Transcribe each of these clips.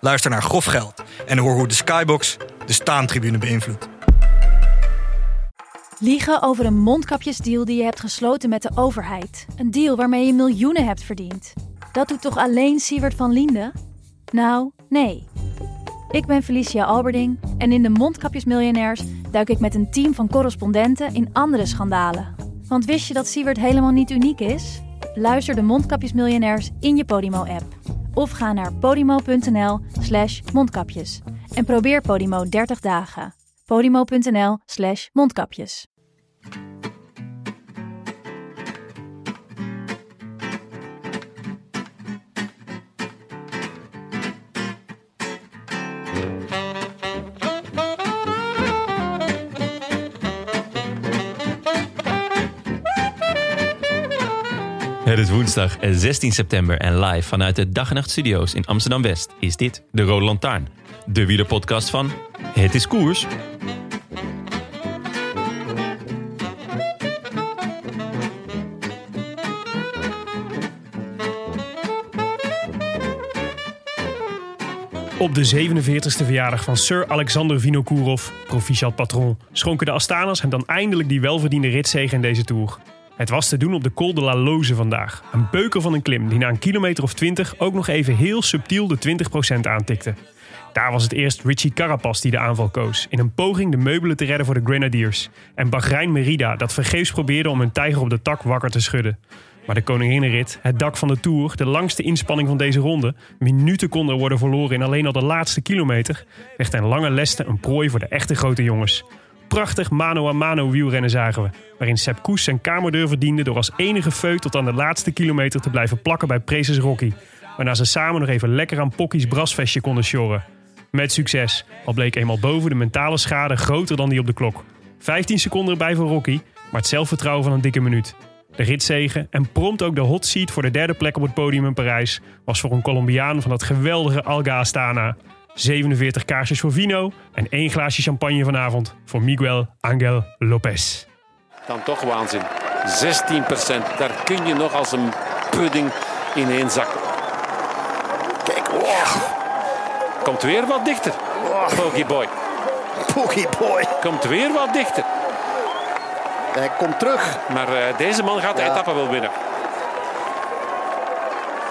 Luister naar Grof Geld en hoor hoe de Skybox de staantribune beïnvloedt. Liegen over een mondkapjesdeal die je hebt gesloten met de overheid. Een deal waarmee je miljoenen hebt verdiend. Dat doet toch alleen Siewert van Linden? Nou, nee. Ik ben Felicia Alberding en in de Mondkapjesmiljonairs duik ik met een team van correspondenten in andere schandalen. Want wist je dat Siewert helemaal niet uniek is? Luister de Mondkapjesmiljonairs in je Podimo-app. Of ga naar podimo.nl slash mondkapjes. En probeer Podimo 30 dagen. podimo.nl slash mondkapjes. Het is woensdag 16 september en live vanuit de Dag en Nacht Studio's in Amsterdam-West is dit de Rode Lantaarn. De wielerpodcast van Het is Koers. Op de 47e verjaardag van Sir Alexander Vinokourov, proficiat patron, schonken de Astana's hem dan eindelijk die welverdiende ritzege in deze Tour. Het was te doen op de Col de la Loze vandaag. Een beuker van een klim die na een kilometer of 20 ook nog even heel subtiel de 20% aantikte. Daar was het eerst Richie Carapaz die de aanval koos, in een poging de meubelen te redden voor de Grenadiers. En Bahrein Merida dat vergeefs probeerde om een tijger op de tak wakker te schudden. Maar de koninginnenrit, het dak van de Tour, de langste inspanning van deze ronde, minuten konden worden verloren in alleen al de laatste kilometer, werd een lange leste een prooi voor de echte grote jongens. Prachtig mano-a-mano wielrennen zagen we, waarin Sepp Koes zijn kamerdeur verdiende door als enige feut tot aan de laatste kilometer te blijven plakken bij Prezes Rocky, waarna ze samen nog even lekker aan Pocky's brasvestje konden sjorren. Met succes, al bleek eenmaal boven de mentale schade groter dan die op de klok. 15 seconden erbij voor Rocky, maar het zelfvertrouwen van een dikke minuut. De ritzegen en prompt ook de hot seat voor de derde plek op het podium in Parijs was voor een Colombiaan van dat geweldige Alga Astana. 47 kaarsjes voor Vino en één glaasje champagne vanavond voor Miguel Angel Lopez. Dan toch waanzin. 16 Daar kun je nog als een pudding ineen zakken. Kijk, oh, Komt weer wat dichter. Pokeboy. boy. Komt weer wat dichter. Hij komt terug. Maar eh, deze man gaat de Ja. etappe wel winnen.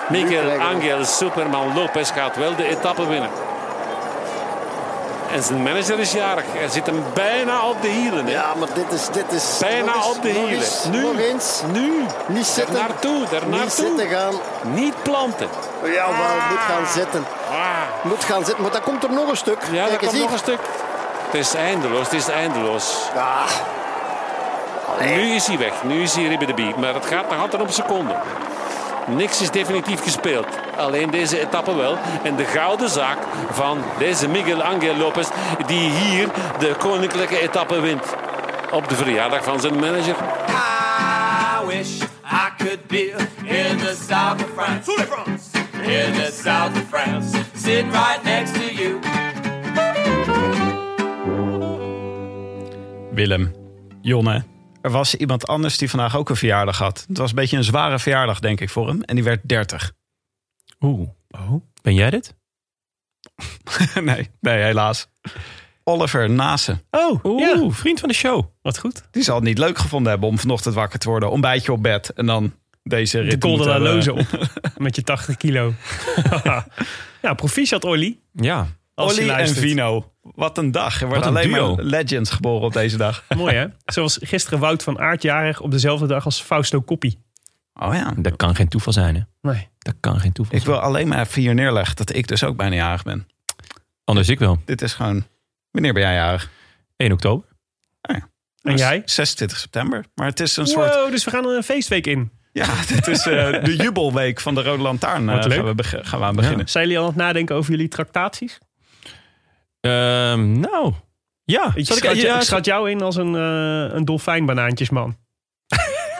Nu Miguel krijgen we- Angel Superman Lopez gaat wel de etappe winnen. En zijn manager is jarig. Hij zit hem bijna op de hielen. hè. Ja, maar dit is... Dit is Bijna nog eens- op de nog hielen. eens, nu. Nog eens. Nu. Niet zitten. Daar naartoe. Daar Niet zitten naartoe. gaan. Niet planten. Ja, wel, moet gaan zitten. Ah. Moet gaan zitten. Maar dan komt er nog een stuk. Ja, Kijk dat eens komt nog hier. een stuk. Het is eindeloos, het is eindeloos. Ah. Allee. Nu is hij weg, nu is hij ribbe de bie. Maar het gaat nog altijd om seconden. Niks is definitief gespeeld. Alleen deze etappe wel. En de gouden zaak van deze Miguel Angel Lopez... die hier de koninklijke etappe wint. Op de verjaardag van zijn manager. I wish I could be in the south of France. France. In the south of France. Sitting right next to you. Willem, Jonne. Er was iemand anders die vandaag ook een verjaardag had. Het was een beetje een zware verjaardag, denk ik, voor hem. En die werd 30. Oeh, Oh. ben jij dit? nee, nee, helaas. Oliver Nase. Oh, Oeh, ja, vriend van de show. wat goed. Die zal het niet leuk gevonden hebben om vanochtend wakker te worden. Ontbijtje op bed en dan deze rit. eh, De Col de la Loze op met je 80 kilo. ja, proficiat Olly. Ja, als je Olly en luistert. Vino. Wat een dag. Er worden een alleen duo. maar legends geboren op deze dag. Mooi hè? Zoals gisteren Wout van Aert jarig op dezelfde dag als Fausto Coppi. Oh ja. dat kan geen toeval zijn hè. Nee. Dat kan geen toeval Ik zijn. wil alleen maar even hier neerleggen dat ik dus ook bijna jarig ben. Anders ik wel. Dit is gewoon... Wanneer ben jij jarig? Ah 1 oktober. En jij? 26 september. Maar het is een soort... Wow, dus we gaan een feestweek in. Ja, dit is eh, de jubelweek van de Rode Lantaarn. Wat eh, leuk. gaan, we beg- gaan we aan beginnen. Zijn jullie al aan het nadenken over jullie tractaties? Ehm, nou, ja. Ik Zal schat, ja, ja, ik schat jou in als een, eh een dolfijnbanaantjesman.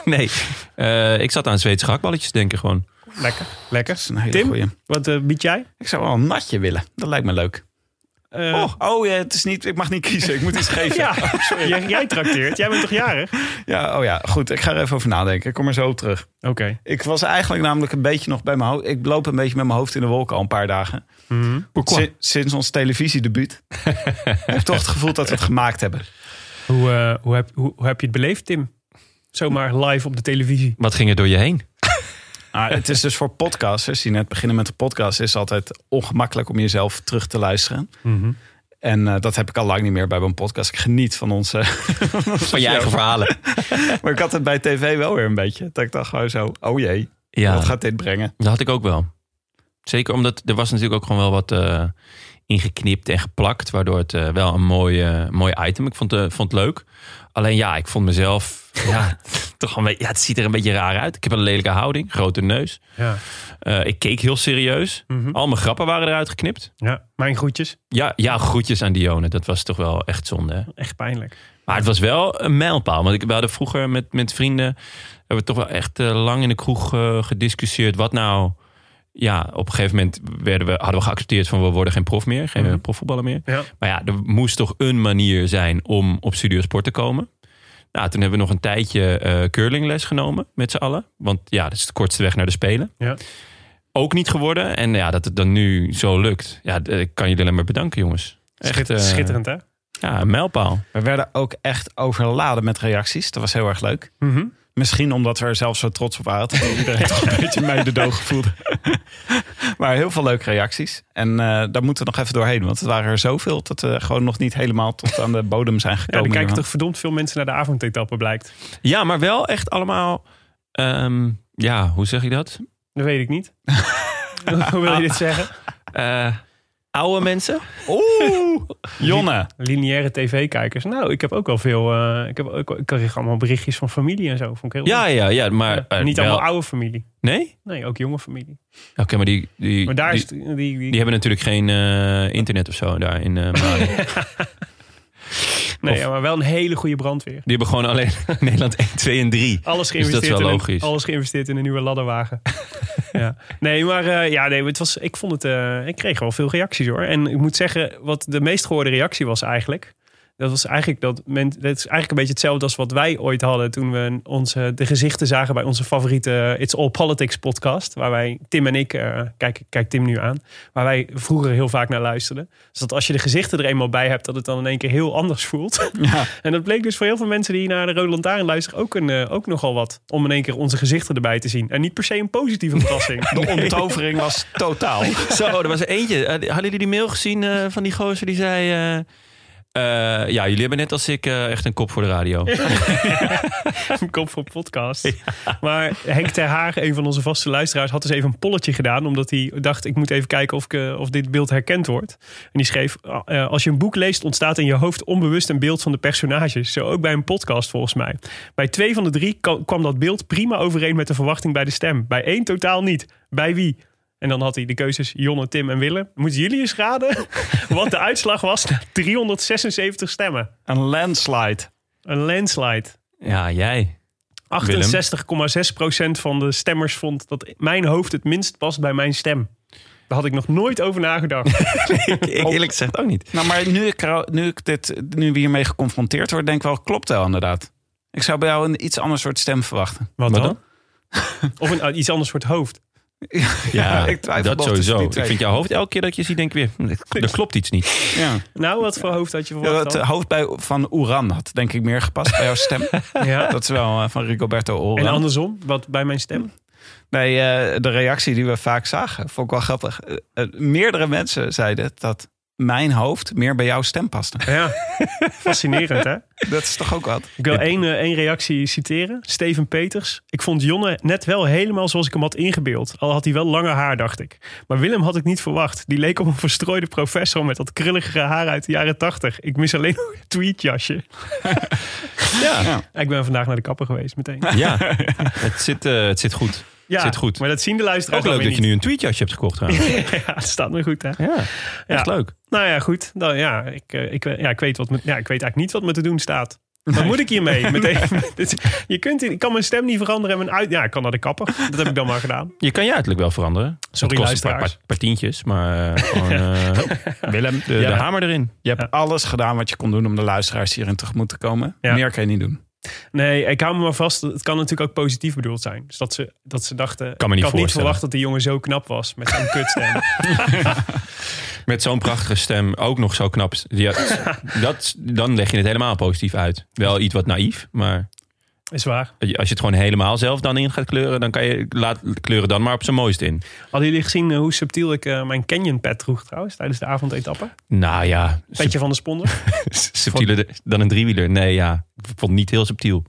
Nee, Eh, ik zat aan Zweedse gehaktballetjes denken gewoon. Lekker, lekker. is een hele Tim? goeie. Wat eh, bied jij? Ik zou wel een natje willen. Dat lijkt me leuk. Eh, oh, oh ja, het is niet, ik mag niet kiezen. Ik moet iets geven. Ja, jij, jij trakteert. Jij bent toch jarig? Oké. Ja, oh ja, goed. Ik ga er even over nadenken. Ik kom er zo op terug. Ik was eigenlijk namelijk een beetje nog bij mijn hoofd. Ik loop een beetje met mijn hoofd in de wolken al een paar dagen. Mhm. Si- sinds ons televisiedebuut. ik heb toch het gevoel dat we het gemaakt hebben. Hoe, eh, hoe, heb, hoe, hoe heb je het beleefd, Tim? Zomaar live op de televisie. Wat ging er door je heen? Maar het is dus voor podcasters die net beginnen met de podcast, is altijd ongemakkelijk om jezelf terug te luisteren. Mhm. En eh, dat heb ik al lang niet meer bij mijn podcast. Ik geniet van onze. Van je eigen verhalen. maar ik had het bij tv wel weer een beetje. Dat ik dacht gewoon zo: oh jee, Ja, wat gaat dit brengen? dat had ik ook wel. Zeker omdat er was natuurlijk ook gewoon wel wat eh, ingeknipt en geplakt. Waardoor het eh, wel een mooi, eh, mooi item. Ik vond, eh, vond het leuk. Alleen ja, ik vond mezelf... ja, toch wel een beetje, ja, het ziet er een beetje raar uit. Ik heb een lelijke houding, grote neus. Ja. Eh, ik keek heel serieus. Mhm. Al mijn grappen waren eruit geknipt. ja. Mijn groetjes. Ja, ja, groetjes aan Dione. Dat was toch wel echt zonde. hè? Echt pijnlijk. Maar het was wel een mijlpaal. Want ik, we hadden vroeger met, met vrienden... hebben we toch wel echt eh, lang in de kroeg eh, gediscussieerd. Wat nou... Ja, op een gegeven moment werden we, hadden we geaccepteerd van... we worden geen prof meer, geen eh, Mhm. profvoetballer meer. Ja. Maar ja, er moest toch een manier zijn om op Studio Sport te komen. Nou, toen hebben we nog een tijdje eh, curlingles genomen met z'n allen. Want ja, dat is de kortste weg naar de Spelen. Ja. Ook niet geworden. En ja, dat het dan nu zo lukt. Ja, d- ik kan jullie alleen maar bedanken, jongens. Schitter- eh, Schitterend, hè? Ja, een mijlpaal. We werden ook echt overladen met reacties. Dat was heel erg leuk. Mhm. Misschien omdat we er zelf zo trots op waren. Dat iedereen toch een beetje mededogen voelde. maar heel veel leuke reacties. En eh, daar moeten we nog even doorheen. Want het waren er zoveel dat we gewoon nog niet helemaal tot aan de bodem zijn Ja, dan gekomen. kijken hiervan. toch verdomd veel mensen naar de avondetappe, blijkt. Ja, maar wel echt allemaal... ehm, ja, hoe zeg ik dat? Dat weet ik niet. Hoe wil je dit zeggen? Eh, oude mensen? Oeh, Jonne. Lineaire tv-kijkers. Nou, ik heb ook wel veel... eh, ik, heb ook, ik kreeg allemaal berichtjes van familie en zo. Vond ik heel Ja, ja, ja. Maar, Ja, eh, niet wel- allemaal oude familie. Nee? Nee, ook jonge familie. Oké, maar die... die Maar daar die- is het- die, die, Die hebben natuurlijk geen eh, internet of zo daar in eh, Mali. Die nee, of- ja, maar wel een hele goede brandweer. hebben gewoon alleen Nederland 1, 2 en 3. Alles dat is geïnvesteerd, wel in, een, logisch. alles geïnvesteerd in een nieuwe ladderwagen. ja. Nee, maar eh, ja, nee, het was, ik vond het. eh, ik kreeg wel veel reacties hoor. En ik moet zeggen, wat de meest gehoorde reactie was eigenlijk. Dat was eigenlijk dat men, dat is eigenlijk een beetje hetzelfde als wat wij ooit hadden toen we onze, de gezichten zagen bij onze favoriete It's All Politics podcast. Waar wij, Tim en ik, eh, kijk, kijk Tim nu aan, waar wij vroeger heel vaak naar luisterden. Dus dat als je de gezichten er eenmaal bij hebt, dat het dan in één keer heel anders voelt. Ja. En dat bleek dus voor heel veel mensen die naar de Rode Lantaarn luisteren ook, een, eh, ook nogal wat. Om in één keer onze gezichten erbij te zien. En niet per se een positieve verrassing. De onttovering was totaal. Zo, er was er eentje. Eh, Hadden jullie die mail gezien eh, van die gozer die zei... eh, eh, ja, jullie hebben net als ik eh, echt een kop voor de radio. een kop voor podcast. Maar Henk Ter Haag, een van onze vaste luisteraars, had dus even een polletje gedaan. Omdat hij dacht, ik moet even kijken of, ik, eh, of dit beeld herkend wordt. En die schreef, eh, als je een boek leest ontstaat in je hoofd onbewust een beeld van de personages. Zo ook bij een podcast volgens mij. Bij twee van de drie ka- kwam dat beeld prima overeen met de verwachting bij de stem. Bij één totaal niet. Bij wie? En dan had hij de keuzes Jonne, Tim en Willem. Moeten jullie eens raden wat de uitslag was na 376 stemmen? Een landslide. Een landslide. Ja, jij. 68,6% van de stemmers vond dat mijn hoofd het minst past bij mijn stem. Daar had ik nog nooit over nagedacht. Ik, ik Oh, eerlijk gezegd ook niet. Nou, maar nu ik, er- nu, ik dit, nu we hiermee geconfronteerd worden, denk ik wel, klopt wel inderdaad. Ik zou bij jou een iets ander soort stem verwachten. Wat dan? Of een, ah, iets anders soort hoofd. Ja, ik twijfel dat nog tussen sowieso. die Ik twee. vind jouw hoofd elke keer dat je ziet, denk ik weer... hm, Er klopt iets niet. Ja. Nou, wat voor hoofd had je Ja, verwacht het dan? hoofd bij, van Oeran had denk ik meer gepast bij jouw stem. Ja. Dat is wel eh, van Rigoberto En Oran. andersom, wat bij mijn stem? Nee, eh, de reactie die we vaak zagen, vond ik wel grappig. Eh, eh, meerdere mensen zeiden dat mijn hoofd meer bij jouw stem paste. Ja, fascinerend hè? Dat is toch ook wat? Ik wil één, eh, één reactie citeren. Steven Peters. Ik vond Jonne net wel helemaal zoals ik hem had ingebeeld. Al had hij wel lange haar, dacht ik. Maar Willem had ik niet verwacht. Die leek op een verstrooide professor met dat krulligere haar uit de jaren tachtig. Ik mis alleen nog een tweetjasje. Ja. Ik ben vandaag naar de kapper geweest meteen. Ja, het zit, eh, het zit goed. Ja, Zit goed. Maar dat zien de luisteraars Ook leuk dan dat weer je nu een tweetjasje hebt gekocht trouwens. niet. ja, het staat me goed, hè? Ja, echt Ja. leuk. Nou ja, goed. Dan, ja, ik, eh, ik, ja, ik, weet wat me, ja, ik weet eigenlijk niet wat me te doen staat. Wat moet ik hiermee? Meteen, dit- je kunt, ik kan mijn stem niet veranderen. En mijn uit, ja, ik kan naar de kapper. Dat heb ik dan maar gedaan. Je kan je uiterlijk wel veranderen. Sorry, het kost een paar, luisteraars. paar- paar tientjes, maar eh, gewoon, eh, Willem, de, de hamer erin. Dus Je hebt alles gedaan wat je kon doen om de luisteraars hierin tegemoet te komen. Ja. Meer kan je niet doen. Nee, ik hou me maar vast. Het kan natuurlijk ook positief bedoeld zijn. Dus dat ze, dat ze dachten... Kan me niet ik had voorstellen. niet verwacht dat die jongen zo knap was. Met zo'n kutstem. Met zo'n prachtige stem, ook nog zo knap. Ja, dat, dan leg je het helemaal positief uit. Wel iets wat naïef, maar Is waar. als je het gewoon helemaal zelf dan in gaat kleuren, dan kan je laat kleuren dan maar op zijn mooist in. Hadden jullie gezien eh, hoe subtiel ik eh, mijn Canyon pet droeg trouwens? Tijdens de avondetappe. Nou ja, sub- Petje van de sponder. subtieler de- dan een driewieler. Nee, ja, ik vond het niet heel subtiel.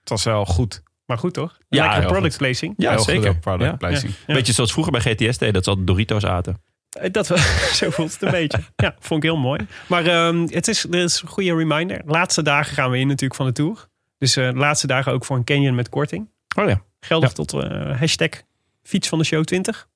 Het was wel goed. Maar goed toch? Ja, Lekkere heel product placing. Ja, Heel zeker. goed op product Ja. placing. Ja. Beetje zoals vroeger bij GTS deed, dat ze altijd Doritos aten. Eh, Dat wel, zo voelt het een beetje. Ja, vond ik heel mooi. Maar ehm, het is, dit is een goede reminder. Laatste dagen gaan we in natuurlijk van de Tour. Dus eh, de laatste dagen ook voor een Canyon met korting. Oh ja. Geldig Ja. tot eh, hashtag fiets van de show 20.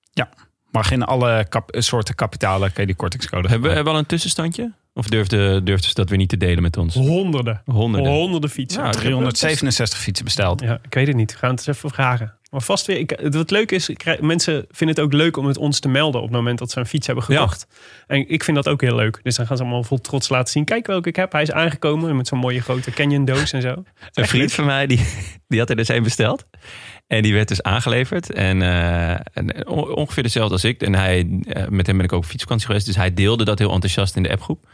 Mag in alle kap- soorten kapitalen kan je die kortingscode Hebben we, hebben we al een tussenstandje? Of durfde, durfden ze dat weer niet te delen met Oh. ons? Honderden. Honderden. Honderden fietsen. Ja, 367 fietsen besteld. Ja, ik weet het niet. We gaan het eens even vragen. Maar vast weer, ik, wat leuk is, ik krijg- mensen vinden het ook leuk om het ons te melden op het moment dat ze een fiets hebben gekocht. En ik vind dat ook heel leuk. Dus dan gaan ze allemaal vol trots laten zien. Kijk welke ik heb. Hij is aangekomen met zo'n mooie grote Canyon doos en zo. Een vriend van mij, die, die had er dus één besteld. En die werd dus aangeleverd. En, eh, en on- ongeveer dezelfde als ik. En hij, eh, met hem ben ik ook op fietsvakantie geweest. Dus hij deelde dat heel enthousiast in de appgroep.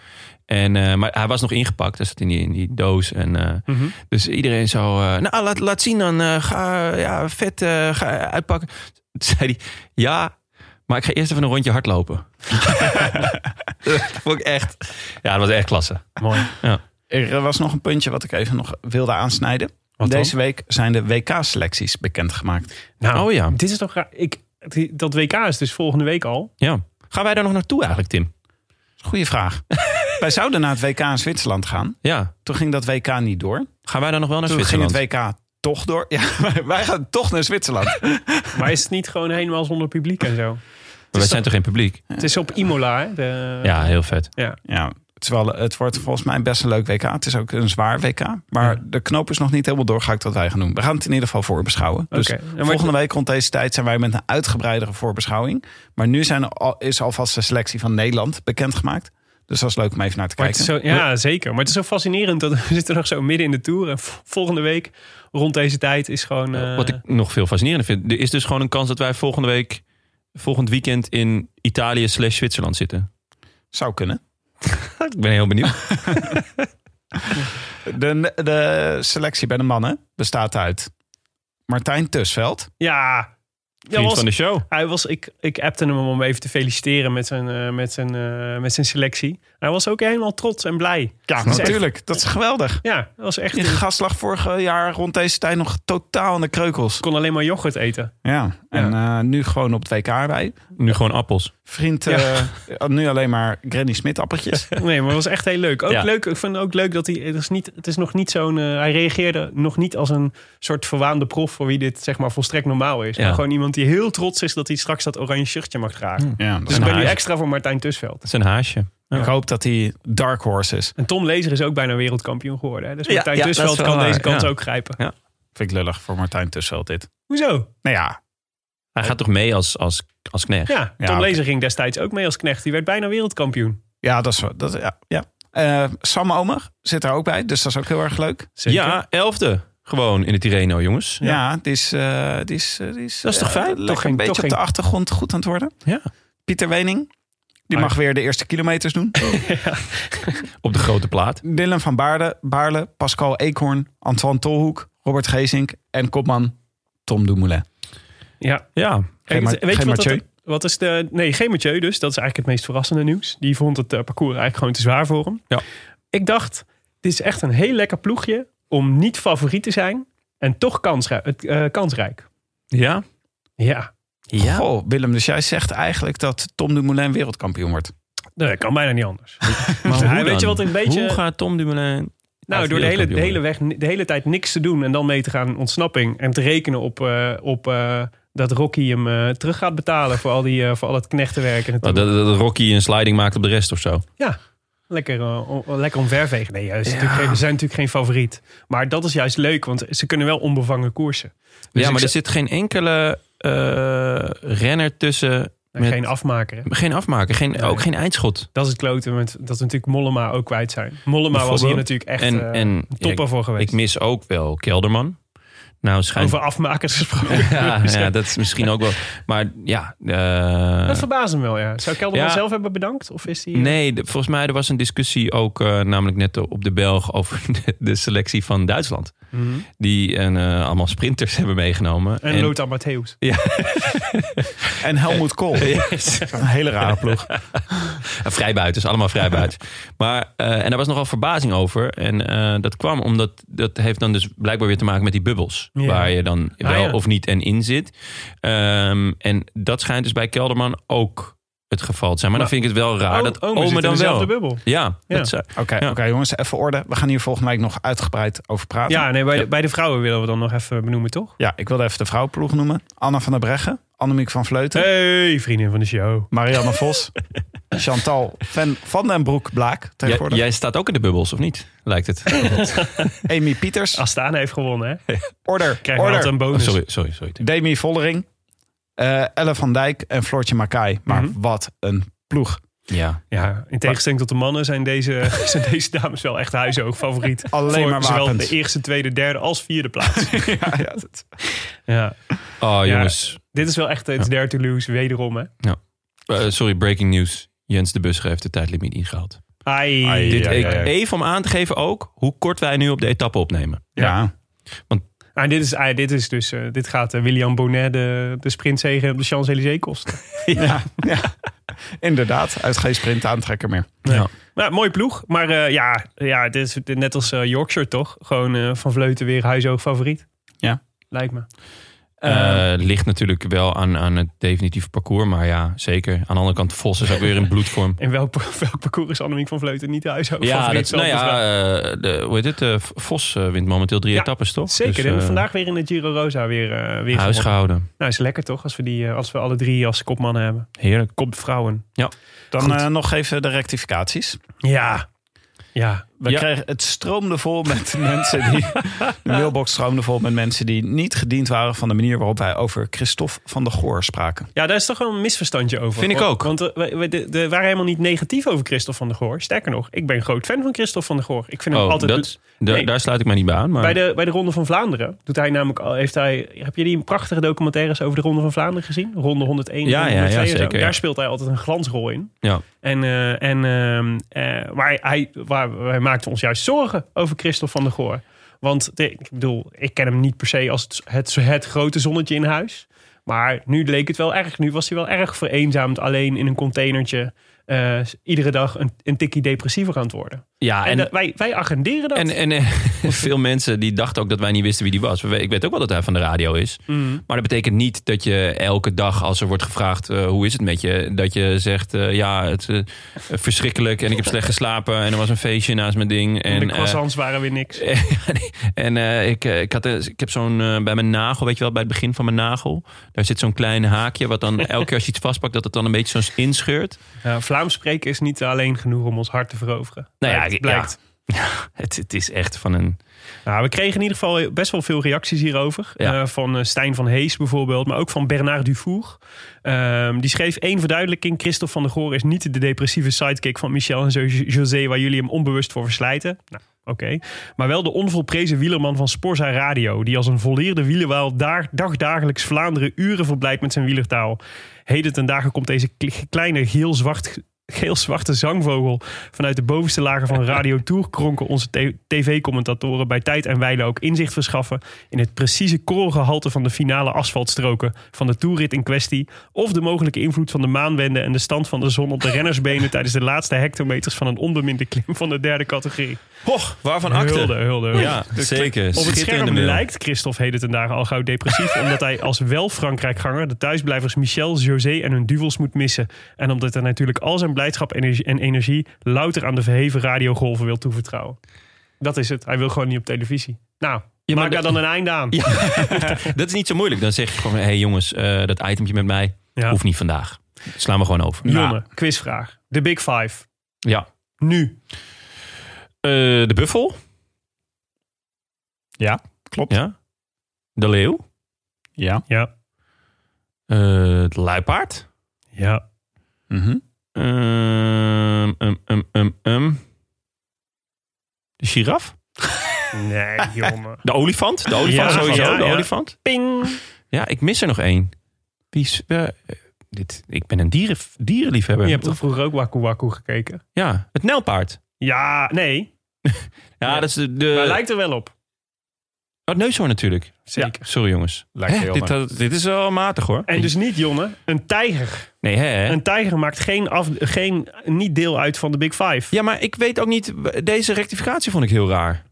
En, eh, maar hij was nog ingepakt. Hij zat in die, in die doos. En, eh, Dus iedereen zo... eh, nou, laat, laat zien dan. eh, ga ja, vet eh, ga uitpakken. Toen zei hij... Ja, maar ik ga eerst even een rondje hardlopen. dat vond ik echt... Ja, dat was echt klasse. Mooi. Er eh, was nog een puntje wat ik even nog wilde aansnijden. dan? Deze week zijn de WK-selecties bekendgemaakt. Nou, Oh ja. Dit is toch raar. Ik, die- dat WK is dus volgende week al. ja. Gaan wij daar nog naartoe eigenlijk, Tim? Goeie vraag. Wij zouden naar het WK in Zwitserland gaan. Ja. Toen ging dat WK niet door. Gaan wij dan nog wel naar Toen ging Zwitserland? het WK toch door. Ja, wij- wij gaan toch naar Zwitserland. Maar is het niet gewoon helemaal zonder publiek en zo? Maar wij zijn toch geen publiek? Het is op Imola, hè? De- Ja, heel vet. ja. Ja, het, is wel, het wordt volgens mij best een leuk WK. Het is ook een zwaar WK. Maar de knoop is nog niet helemaal doorgehakt wat wij gaan doen. We gaan het in ieder geval voorbeschouwen. Dus Oké. Ja, maar- volgende week rond deze tijd zijn wij met een uitgebreidere voorbeschouwing. Maar nu zijn er al, is alvast de selectie van Nederland bekendgemaakt. Dus dat is leuk om even naar te Maar het kijken. is zo, ja, zeker. Maar het is zo fascinerend dat we zitten nog zo midden in de tour. En v- volgende week rond deze tijd is gewoon... eh, Wat ik nog veel fascinerender vind. Er is dus gewoon een kans dat wij volgende week, volgend weekend in Italië slash Zwitserland zitten. Zou kunnen. Ik ben heel benieuwd. De, de selectie bij de mannen bestaat uit Martijn Tusveld. Ja. Ja, Vriend was, van de show. hij was, ik, ik appte hem om even te feliciteren met zijn, eh, met zijn, eh, met zijn selectie. Hij was ook helemaal trots en blij. Ja, Dat is echt- natuurlijk. Dat is geweldig. Ja, dat was echt... In Ik gastlag vorig jaar rond deze tijd nog totaal aan de kreukels. kon alleen maar yoghurt eten. Ja, en eh, nu gewoon op het WK erbij. Nu gewoon appels. Vriend, eh, nu alleen maar Granny Smit appeltjes. Nee, maar het was echt heel leuk. Ook Ja. leuk. Ik vind ook leuk dat hij. Het is, niet, het is nog niet zo'n. eh, hij reageerde nog niet als een soort verwaande prof voor wie dit zeg maar volstrekt normaal is. Ja. Maar gewoon iemand die heel trots is dat hij straks dat oranje shirtje mag dragen. Hmm. Ja, Dus ik ben nu Haas. extra voor Martijn Tusveld. Dat is een haasje. Ik hoop dat hij Dark Horse is. En Tom Lezer is ook bijna wereldkampioen geworden. Hè? Dus Ja, Martijn ja, dat is Tusveld wel kan waar, deze kans ja. ook grijpen. Vind ik lullig voor Martijn Tussel dit. Hoezo? Nou ja, Hij gaat toch mee als, als, als knecht? Ja, Ja, Tom oké. Lezer ging destijds ook mee als knecht. Die werd bijna wereldkampioen. ja dat is wel- dat, ja, ja. Eh, Sam Omer zit er ook bij, dus dat is ook heel erg leuk. Zeker. Ja, elfde. Gewoon in de Tirreno, jongens. Ja, die is, eh, die is, eh, die is Dat is toch eh, fijn? lekker Toch een geen- beetje toch op de geen- achtergrond goed aan het worden. Ja. Pieter Wening, die mag weer de eerste kilometers doen. Op de grote plaat. Dylan van Baarle, Baarle, Pascal Eekhoorn, Antoine Tolhoek, Robert Geesink en kopman Tom Dumoulin. Ja. Ja. Kijk, Geen het- Ma- weet je geen wat, dat, Mathieu? wat is de... Nee, geen Mathieu dus. Dat is eigenlijk het meest verrassende nieuws. Die vond het eh, parcours eigenlijk gewoon te zwaar voor hem. Ja. Ik dacht, dit is echt een heel lekker ploegje om niet favoriet te zijn. En toch kansrijk. Het, eh, kansrijk. Ja? Ja, Ja. Goh, Willem, dus jij zegt eigenlijk dat Tom Dumoulin wereldkampioen wordt. dat kan bijna niet anders. Maar Ja, hoe weet dan? je wat een beetje- Hoe gaat Tom Dumoulin... Nou, als door de hele, de, wereldkampioen hele weg, de hele tijd niks te doen en dan mee te gaan in ontsnapping. En te rekenen op, eh, op eh, dat Rocky hem eh, terug gaat betalen voor al, die, eh, voor al het knechtenwerk. En het Dat, dat- dat Rocky een sliding maakt op de rest of zo. Ja, lekker, eh, o- lekker omvervegen. Nee, juist, natuurlijk geen- ze zijn natuurlijk geen favoriet. Maar dat is juist leuk, want ze kunnen wel onbevangen koersen. Dus ja, maar ik er zou- zit geen enkele eh, renner tussen. en met- geen afmaker. hè. geen afmaken, geen, ook geen eindschot. Dat is het kloten met dat we natuurlijk Mollema ook kwijt zijn. Mollema was hier Bijvoorbeeld. natuurlijk echt En- eh, en, een topper ja, voor Ik geweest. mis ook wel Kelderman. Nou, schijnt. Over afmakers gesproken. Ja, Dus, eh, ja, dat is misschien ook wel. Maar ja. eh, dat verbaast hem wel, ja. Zou Kelderman Ja. zelf hebben bedankt? Of is hij... nee, de- volgens mij er was een discussie ook eh, namelijk net op de Belg over de, de selectie van Duitsland. Mhm. Die en, eh, allemaal sprinters hebben meegenomen. En, Lothar Matthäus. En Helmut Kool. Yes. Een hele rare ploeg. Vrijbuiters, allemaal vrijbuiters. maar, eh, en daar was nogal verbazing over. En eh, dat kwam omdat, dat heeft dan dus blijkbaar weer te maken met die bubbels. Ja. Waar je dan Ah, wel ja. of niet en in zit. Ehm, en dat schijnt dus bij Kelderman ook het geval te zijn. Maar, Maar- dan vind ik het wel raar Oh, dat Omer zit Ome in dan dezelfde wel. bubbel. Ja, Ja. dat zou- Oké, Ja. oké, jongens, even orde. We gaan hier volgende week nog uitgebreid over praten. Ja, nee, bij, De, bij de vrouwen willen we dan nog even benoemen, toch? Ja, ik wilde even de vrouwenploeg noemen. Anna van der Breggen, Annemiek van Vleuten, Hey, vriendin van de show. Marianne Vos, Chantal van, van den Broek Blaak Jij, tegenwoordig, jij staat ook in de bubbels, of niet? Lijkt het. Oh, Amy Pieters, Astana heeft gewonnen, hè? Order, Krijgen we Order, altijd een Oh, bonus. sorry, sorry, sorry. Demi Vollering, eh, Elle van Dijk en Floortje Makai. Maar wat een ploeg. Ja. Ja, in tegenstelling tot de mannen zijn deze, zijn deze dames wel echt huishoogfavoriet. Alleen voor maar zowel wapens. de eerste, tweede, derde als vierde plaats. ja, ja, dat- ja. Oh, jongens. Dit is wel echt iets dare to lose, wederom hè. Eh, sorry, breaking news. Jens de Busser heeft de tijdlimiet ingehaald. Ai. Dit ja, ja, ja. Even om aan te geven ook hoe kort wij nu op de etappe opnemen. ja. Ah, dit, is, ah, dit is dus, eh, dit gaat eh, William Bonnet de, de sprintzegen op de Champs-Élysées kosten. Ja, ja. inderdaad. Uit geen sprint aantrekker meer. Ja. Nou, mooie ploeg, maar eh, ja, ja, dit is net als eh, Yorkshire toch? Gewoon eh, van Vleuten weer huishoogfavoriet. Ja. Lijkt me. Eh, ligt natuurlijk wel aan, aan het definitieve parcours, maar ja, zeker. Aan de andere kant, Vos is ook weer in bloedvorm. En welk, welk parcours is Annemiek van Vleuten niet de Ja, huishoogfavoriet? dus dat, nou Zelfde vraag. ja, eh, de, hoe heet het? eh, Vos eh, wint momenteel drie Ja, etappes, toch? Zeker, Dus, en eh, vandaag weer in de Giro Rosa weer, eh, weer Huis gewonnen. gehouden. Nou, is lekker toch, als we, die, eh, als we alle drie als kopmannen hebben. Heerlijk. Kopvrouwen. Dan Goed. eh, nog even de rectificaties. Ja. Ja. We Ja. kregen, het stroomde vol met mensen die. De mailbox stroomde vol met mensen die niet gediend waren van de manier waarop wij over Christophe van der Goor spraken. ja, daar is toch wel een misverstandje over. Vind ik ook. Want eh, we, we, de, de- waren helemaal niet negatief over Christophe van der Goor. Sterker nog, ik ben een groot fan van Christophe van der Goor. Ik vind hem Oh, altijd... dat, da- Nee. daar sluit ik mij niet bij aan. Maar Bij de, bij de Ronde van Vlaanderen doet hij namelijk al, heeft hij, heb je die prachtige documentaires over de Ronde van Vlaanderen gezien? Ronde 101, Ja, Ronde ja, ja, 102 en zo. zeker, ja. Daar speelt hij altijd een glansrol in. Ja. En, eh, en eh, eh, waar hij, waar, wij maakten ons juist zorgen over Christophe van der Goor. Want de- ik bedoel, ik ken hem niet per se als het, het, het grote zonnetje in huis. Maar nu leek het wel erg. Nu was hij wel erg vereenzaamd alleen in een containertje. eh, iedere dag een, een tikkie depressiever aan het worden. ja, En, Ah, en, dat- wij, wij agenderen dat. en, en eh, veel mensen die dachten ook dat wij niet wisten wie die was. We we- Ik weet ook wel dat hij van de radio is. Mm. Maar dat betekent niet dat je elke dag, als er wordt gevraagd eh, hoe is het met je, dat je zegt: eh, ja, het is verschrikkelijk en ik heb slecht geslapen en er was een feestje naast mijn ding. En, de eh, croissants waren weer niks. en eh, ik, eh, ik, had, eh, ik heb zo'n eh, bij mijn nagel, weet je wel, bij het begin van mijn nagel, daar zit zo'n klein haakje, wat dan elke keer als je iets vastpakt, dat het dan een beetje zo'n inscheurt. Ja, Vlaams spreken is niet alleen genoeg om ons hart te veroveren. Nou ja, Blijkt- ik- blijkt. Het, het is echt van een. Nou, we kregen in ieder geval best wel veel reacties hierover. Ja. Eh, van eh, Stijn van Hees bijvoorbeeld, maar ook van Bernard Dufour. Ehm, die schreef één verduidelijking. Christophe van der Goor is niet de depressieve sidekick van Michel en zo- José... waar jullie hem onbewust voor verslijten. Nou, oké. Maar wel de onvolprezen wielerman van Sporza Radio... die als een volleerde wielerwaal daar, dagdagelijks Vlaanderen uren verblijft met zijn wielertaal. Heden ten dagen komt deze kle- kleine geel-zwart geel-zwarte zangvogel vanuit de bovenste lagen van Radio Tour kronken onze t- tv-commentatoren bij tijd en wijle ook inzicht verschaffen in het precieze korrelgehalte van de finale asfaltstroken van de toerrit in kwestie of de mogelijke invloed van de maanwende en de stand van de zon op de rennersbenen tijdens de laatste hectometers van een onbeminde klim van de derde categorie. Och, waarvan Hulde, acte? hulde. hulde. Ja, zeker. Op het Schitterende scherm mail. lijkt Christophe heden ten dagen al gauw depressief... omdat hij als wel Frankrijkganger de thuisblijvers Michel, José en hun duels moet missen. En omdat hij natuurlijk al zijn blijdschap energie- en energie... louter aan de verheven radiogolven wil toevertrouwen. Dat is het. Hij wil gewoon niet op televisie. Nou, Ja, maar Maak daar de- dan een einde aan. Ja. Dat is niet zo moeilijk. Dan zeg je gewoon, hé hey jongens, eh, dat itempje met mij Ja. hoeft niet vandaag. Slaan we gewoon over. Jonne, quizvraag. De Big Five. Ja. Nu. Eh, de buffel. Ja, klopt. Ja. De leeuw. Ja. Ja. Eh, het luipaard. Ja. Mhm. Ehm, um, um, um, um. De giraf. Nee, jongen. De olifant. De olifant Ja, sowieso. ja, de ja. olifant. Ping. Ja, ik mis er nog één. Wie is... eh, eh, dit, ik ben een dieren, dierenliefhebber. Je hebt toch vroeger ook Waku Waku gekeken? Ja, het nijlpaard. Ja, nee. Ja, dat is de... de Maar lijkt er wel op. Oh, het neushoorn natuurlijk. Zeker. Ja, sorry jongens. Lijkt Hè, heel dit, naar. had- dit is wel matig hoor. En dus niet, Jonne. Een tijger. Nee, hè? Een tijger maakt geen, af, geen niet deel uit van de Big Five. Ja, maar ik weet ook niet... Deze rectificatie vond ik heel raar.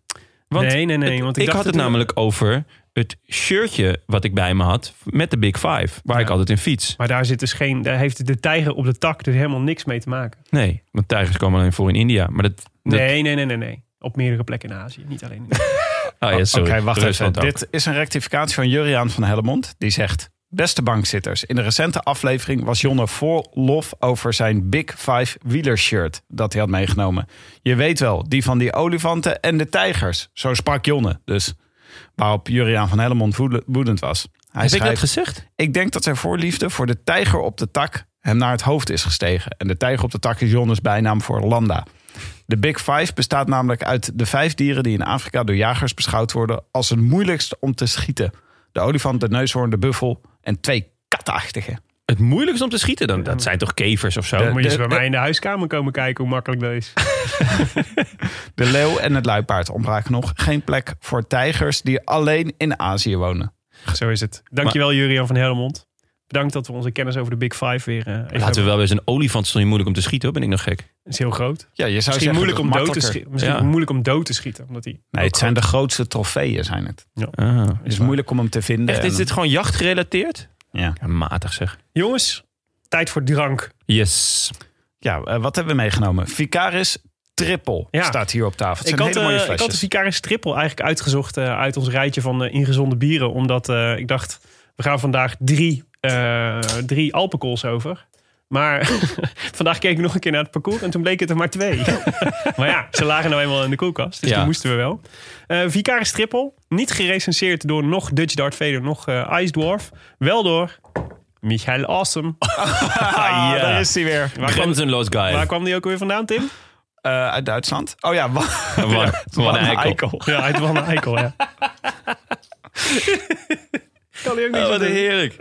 Want nee, nee, nee. Het- want ik, ik dacht had het dat- namelijk over het shirtje wat ik bij me had met de Big Five, waar ik altijd in fiets. Maar daar, zit dus geen, daar heeft de tijger op de tak dus helemaal niks mee te maken. Nee, want tijgers komen alleen voor in India. Maar dat, dat- Nee, nee, nee, nee, nee. Op meerdere plekken in Azië. Niet alleen in Oh ja, Oké, sorry. wacht even. Rusland ook. Dit is een rectificatie van Juriaan van Hellemond. Die zegt... Beste bankzitters, in de recente aflevering was Jonne vol lof over zijn Big Five wielershirt dat hij had meegenomen. Je weet wel, die van die olifanten en de tijgers. Zo sprak Jonne dus. Waarop Juriaan van Hellemond woede- woedend was. Hij Heb ik dat schrijft, gezegd? ik denk dat zijn voorliefde voor de tijger op de tak hem naar het hoofd is gestegen. En de tijger op de tak is Jonnes bijnaam voor Landa. De Big Five bestaat namelijk uit de vijf dieren die in Afrika door jagers beschouwd worden als het moeilijkst om te schieten. De olifant, de neushoorn, de buffel en twee katachtige. Het moeilijkste om te schieten dan, dat zijn toch kevers of zo? Dan Mm. moet je de- eens bij de- mij in de huiskamer komen kijken hoe makkelijk dat is. De leeuw en het luipaard ontbraken nog. Geen plek voor tijgers die alleen in Azië wonen. Zo is het. Dankjewel, Jurian van Helmond. Bedankt dat we onze kennis over de Big Five weer eh, even Laten hebben. we wel eens een olifant is toch niet moeilijk om te schieten, hoor. ben ik nog gek. Dat is heel groot. Ja, je zou Misschien, moeilijk om, dood te schieten. schieten. Misschien Ja. moeilijk om dood te schieten. Omdat die Nee, het zijn de grootste trofeeën, zijn het. Ah. Het is moeilijk om hem te vinden. Echt, is en- dit gewoon jachtgerelateerd? Ja. Ja, Ehm, matig zeg. Jongens, tijd voor drank. Yes. Ja, eh, wat hebben we meegenomen? Vicaris Triple Ja. staat hier op tafel. Ik Het zijn had, hele mooie eh, ik flesjes. had de Vicaris Triple eigenlijk uitgezocht eh, uit ons rijtje van eh, ingezonde bieren. Omdat eh, ik dacht, we gaan vandaag drie, eh drie alcohols over. Maar vandaag keek ik nog een keer naar het parcours en toen bleek het er maar twee. maar ja, ze lagen nou eenmaal in de koelkast. Dus Ja. toen moesten we wel. Eh Vicaris Triple, niet gerecenseerd door nog Dutch Dart Vader, nog eh Ice Dwarf. Wel door Michael Awesome. Ah, daar is hij weer. Waar kwam, Grenzenloos guy. waar kwam die ook weer vandaan, Tim? Eh, uit Duitsland. Oh ja, wa- Wat- Wat een eikel. Ja, uit Van Eikel, ja. kan hij ook niet Oh, zo Wat doen. heerlijk.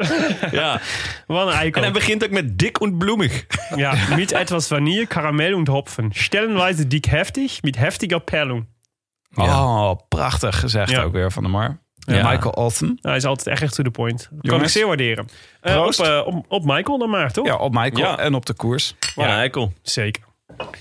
Ja. Van En Eikel. hij begint ook met dik en bloemig. Ja, mit etwas Vanille, Karamell und Hopfen. Stellenweise dick heftig, mit heftiger Perlung. Oh, prachtig gezegd Ja. ook weer van de Mar. Ja. Michael Olsen. Hij is altijd echt echt to the point. Dat kan Jongens. ik zeer waarderen. Eh, Proost. op, eh, op, op Michael dan maar, toch? Ja, op Michael Ja. en op de koers. Ja, eikel. Zeker.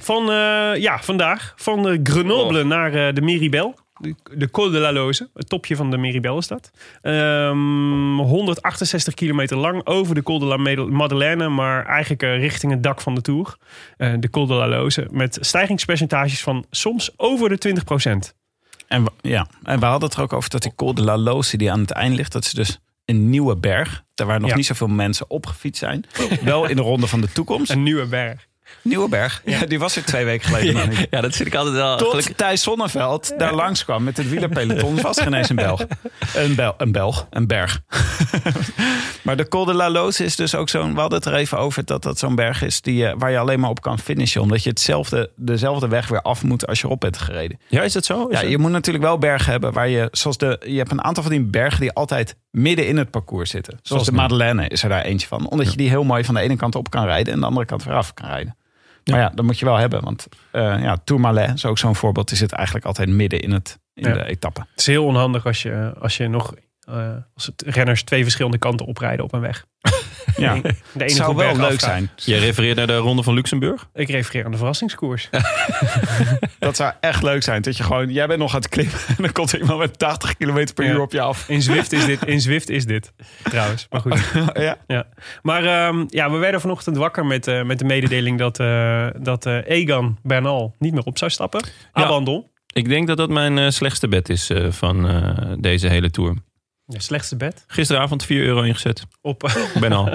Van, eh, ja, vandaag. Van eh, Grenoble naar eh, de Miribel. De, de Col de la Loze. Het topje van de Miribel is dat. Ehm, 168 kilometer lang over de Col de la Mede- Madeleine. Maar eigenlijk eh, richting het dak van de Tour. Eh, de Col de la Loze. Met stijgingspercentages van soms over de 20 En, we- ja. en we hadden het er ook over dat die Col de la Loze die aan het eind ligt. Dat is dus een nieuwe berg. Daar waar nog Ja. niet zoveel mensen opgefietst zijn. Wel in de ronde van de toekomst. Een nieuwe berg. nieuwe berg. Ja. die was er twee weken geleden nog niet. Ja, dat zit ik altijd wel. gelukkig- Tot Thijs Sonneveld daar langskwam met het wielerpeloton. Het was geen eens een Belg. Een, Bel, een Belg, een berg. maar de Col de la Loze is dus ook zo'n... We hadden het er even over dat dat zo'n berg is... Die, eh, waar je alleen maar op kan finishen. Omdat je hetzelfde, dezelfde weg weer af moet als je op bent gereden. Ja, is dat zo? Is Ja, dat- je moet natuurlijk wel bergen hebben waar je... Zoals de, je hebt een aantal van die bergen die altijd midden in het parcours zitten. Zoals, de nou. nu. Madeleine is er daar eentje van. Omdat je die heel mooi van de ene kant op kan rijden... en de andere kant weer af kan rijden. Maar ja, dat moet je wel hebben. Want eh ja, Tourmalet is ook zo'n voorbeeld. Die zit eigenlijk altijd midden in, het, in Ja. de etappe. Het is heel onhandig als je, als je nog... eh, als het renners twee verschillende kanten oprijden op een weg. Ja. De ene Het op zou berg wel leuk afgaat. zijn. Jij refereert naar de Ronde van Luxemburg? Ik refereer aan de verrassingskoers. Dat zou echt leuk zijn. Dat je gewoon, jij bent nog aan het klimmen. En dan komt er iemand met 80 km per Ja. uur op je af. In Zwift is dit, in Zwift is dit trouwens. Maar goed. Ja. Ja. Maar ehm, ja, we werden vanochtend wakker met, eh, met de mededeling dat, eh, dat eh, Egan Bernal niet meer op zou stappen. Ja. Abandon. Ik denk dat dat mijn eh, slechtste bed is eh, van eh, deze hele tour. Ja, slechtste bed. Gisteravond 4 euro ingezet. Op. Ik ben al.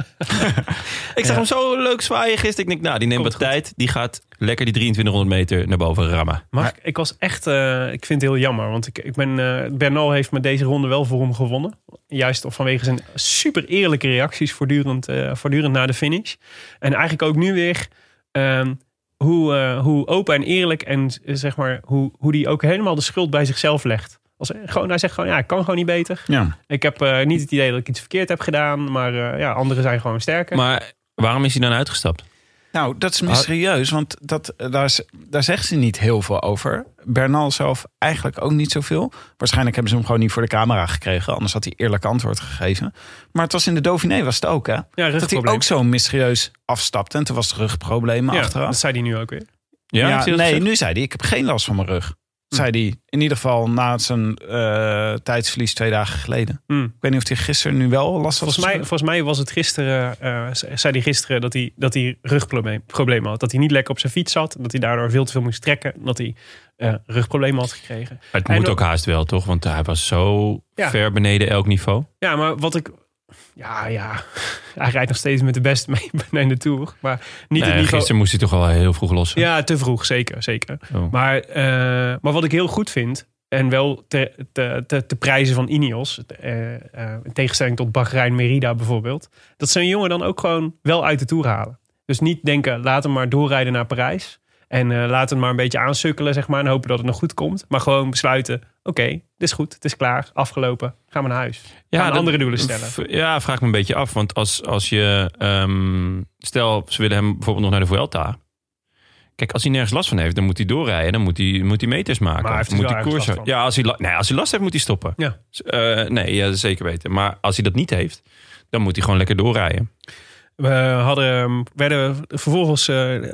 ik zag hem zo leuk zwaaien gisteren. Ik denk, nou, die neemt Komt wat tijd. Die gaat lekker die 2300 meter naar boven rammen. Maar ik- ik was echt, eh, ik vind het heel jammer. Want ik, ik ben, eh, Bernal heeft me deze ronde wel voor hem gewonnen. Juist vanwege zijn super eerlijke reacties voortdurend, eh, voortdurend na de finish. En eigenlijk ook nu weer ehm, hoe, eh, hoe open en eerlijk en eh, zeg maar hoe, hoe die ook helemaal de schuld bij zichzelf legt. Als, gewoon, hij zegt gewoon, ja, ik kan gewoon niet beter. Ja. Ik heb eh, niet het idee dat ik iets verkeerd heb gedaan. Maar eh, ja, anderen zijn gewoon sterker. Maar waarom is hij dan uitgestapt? Nou, dat Ah. is mysterieus, want dat, eh, daar, is- daar zegt ze niet heel veel over. Bernal zelf eigenlijk ook niet zoveel. Waarschijnlijk hebben ze hem gewoon niet voor de camera gekregen. Anders had hij eerlijk antwoord gegeven. Maar het was in de Dauphiné was het ook, hè? dat hij rugprobleem. ook zo mysterieus afstapte. En toen was het rugproblemen ja, achteraf. dat zei hij nu ook weer. Ja, Ja, heeft hij dat nee, gezegd? nu zei hij, ik heb geen last van mijn rug. Hm. Zei hij in ieder geval na zijn eh, tijdsverlies twee dagen geleden. Hmm. Ik weet niet of hij gisteren nu wel last had. Volgens mij, volgens mij was het gisteren, eh, zei hij gisteren dat hij, dat hij rugproblemen had. Dat hij niet lekker op zijn fiets zat. Dat hij daardoor veel te veel moest trekken. en Dat hij eh, rugproblemen had gekregen. Het En moet dan- ook haast wel, toch? Want hij was zo Ja. ver beneden elk niveau. Ja, maar wat ik... Ja, ja. Hij rijdt nog steeds met de beste mee in de Tour. Maar niet Nee, het niveau... gisteren moest hij toch al heel vroeg lossen. Ja, te vroeg. Zeker, zeker. Oh. Maar, eh, maar wat ik heel goed vind, en wel te, te, te, te prijzen van Ineos, eh, eh, in tegenstelling tot Bahrein Merida bijvoorbeeld, dat ze een jongen dan ook gewoon wel uit de toer halen. Dus niet denken, laat hem maar doorrijden naar Parijs. En eh, laat hem maar een beetje aansukkelen, zeg maar, en hopen dat het nog goed komt. Maar gewoon besluiten, oké, dit is goed, het is klaar, afgelopen, gaan we naar huis. gaan dat- andere doelen stellen. v- Ja, vraag ik me een beetje af. Want als, als je... ehm, stel, ze willen hem bijvoorbeeld nog naar de Vuelta. Kijk, als hij nergens last van heeft, dan moet hij doorrijden. Dan moet hij, moet hij meters maken. Maar hij heeft Of er moet wel hij ergens koersen. last van. Ja, als hij, la- nee, als hij last heeft, moet hij stoppen. Ja. Dus, eh, nee, ja, zeker weten. Maar als hij dat niet heeft, dan moet hij gewoon lekker doorrijden. We hadden, ehm, werden vervolgens, eh, eh,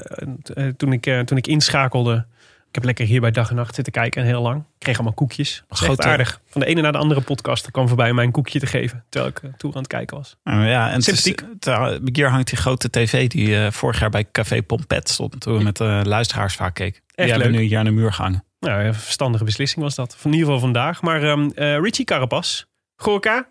eh, toen, ik, eh, toen ik inschakelde... Ik heb lekker hier bij dag en nacht zitten kijken en heel lang. Ik kreeg allemaal koekjes. Dat was echt Grote- aardig. Van de ene naar de andere podcast er kwam voorbij om mij een koekje te geven. Terwijl ik eh, toe aan het kijken was. Nou ja, en het is- Sympathiek. daar- hier hangt die grote tv die eh, vorig jaar bij Café Pompet stond. Toen we met de luisteraars vaak keken. die Echt hebben leuk. nu hier aan de muur gehangen. Nou, een verstandige beslissing was dat. In ieder geval vandaag. Maar ehm, eh, Richie Carapas, Gorka,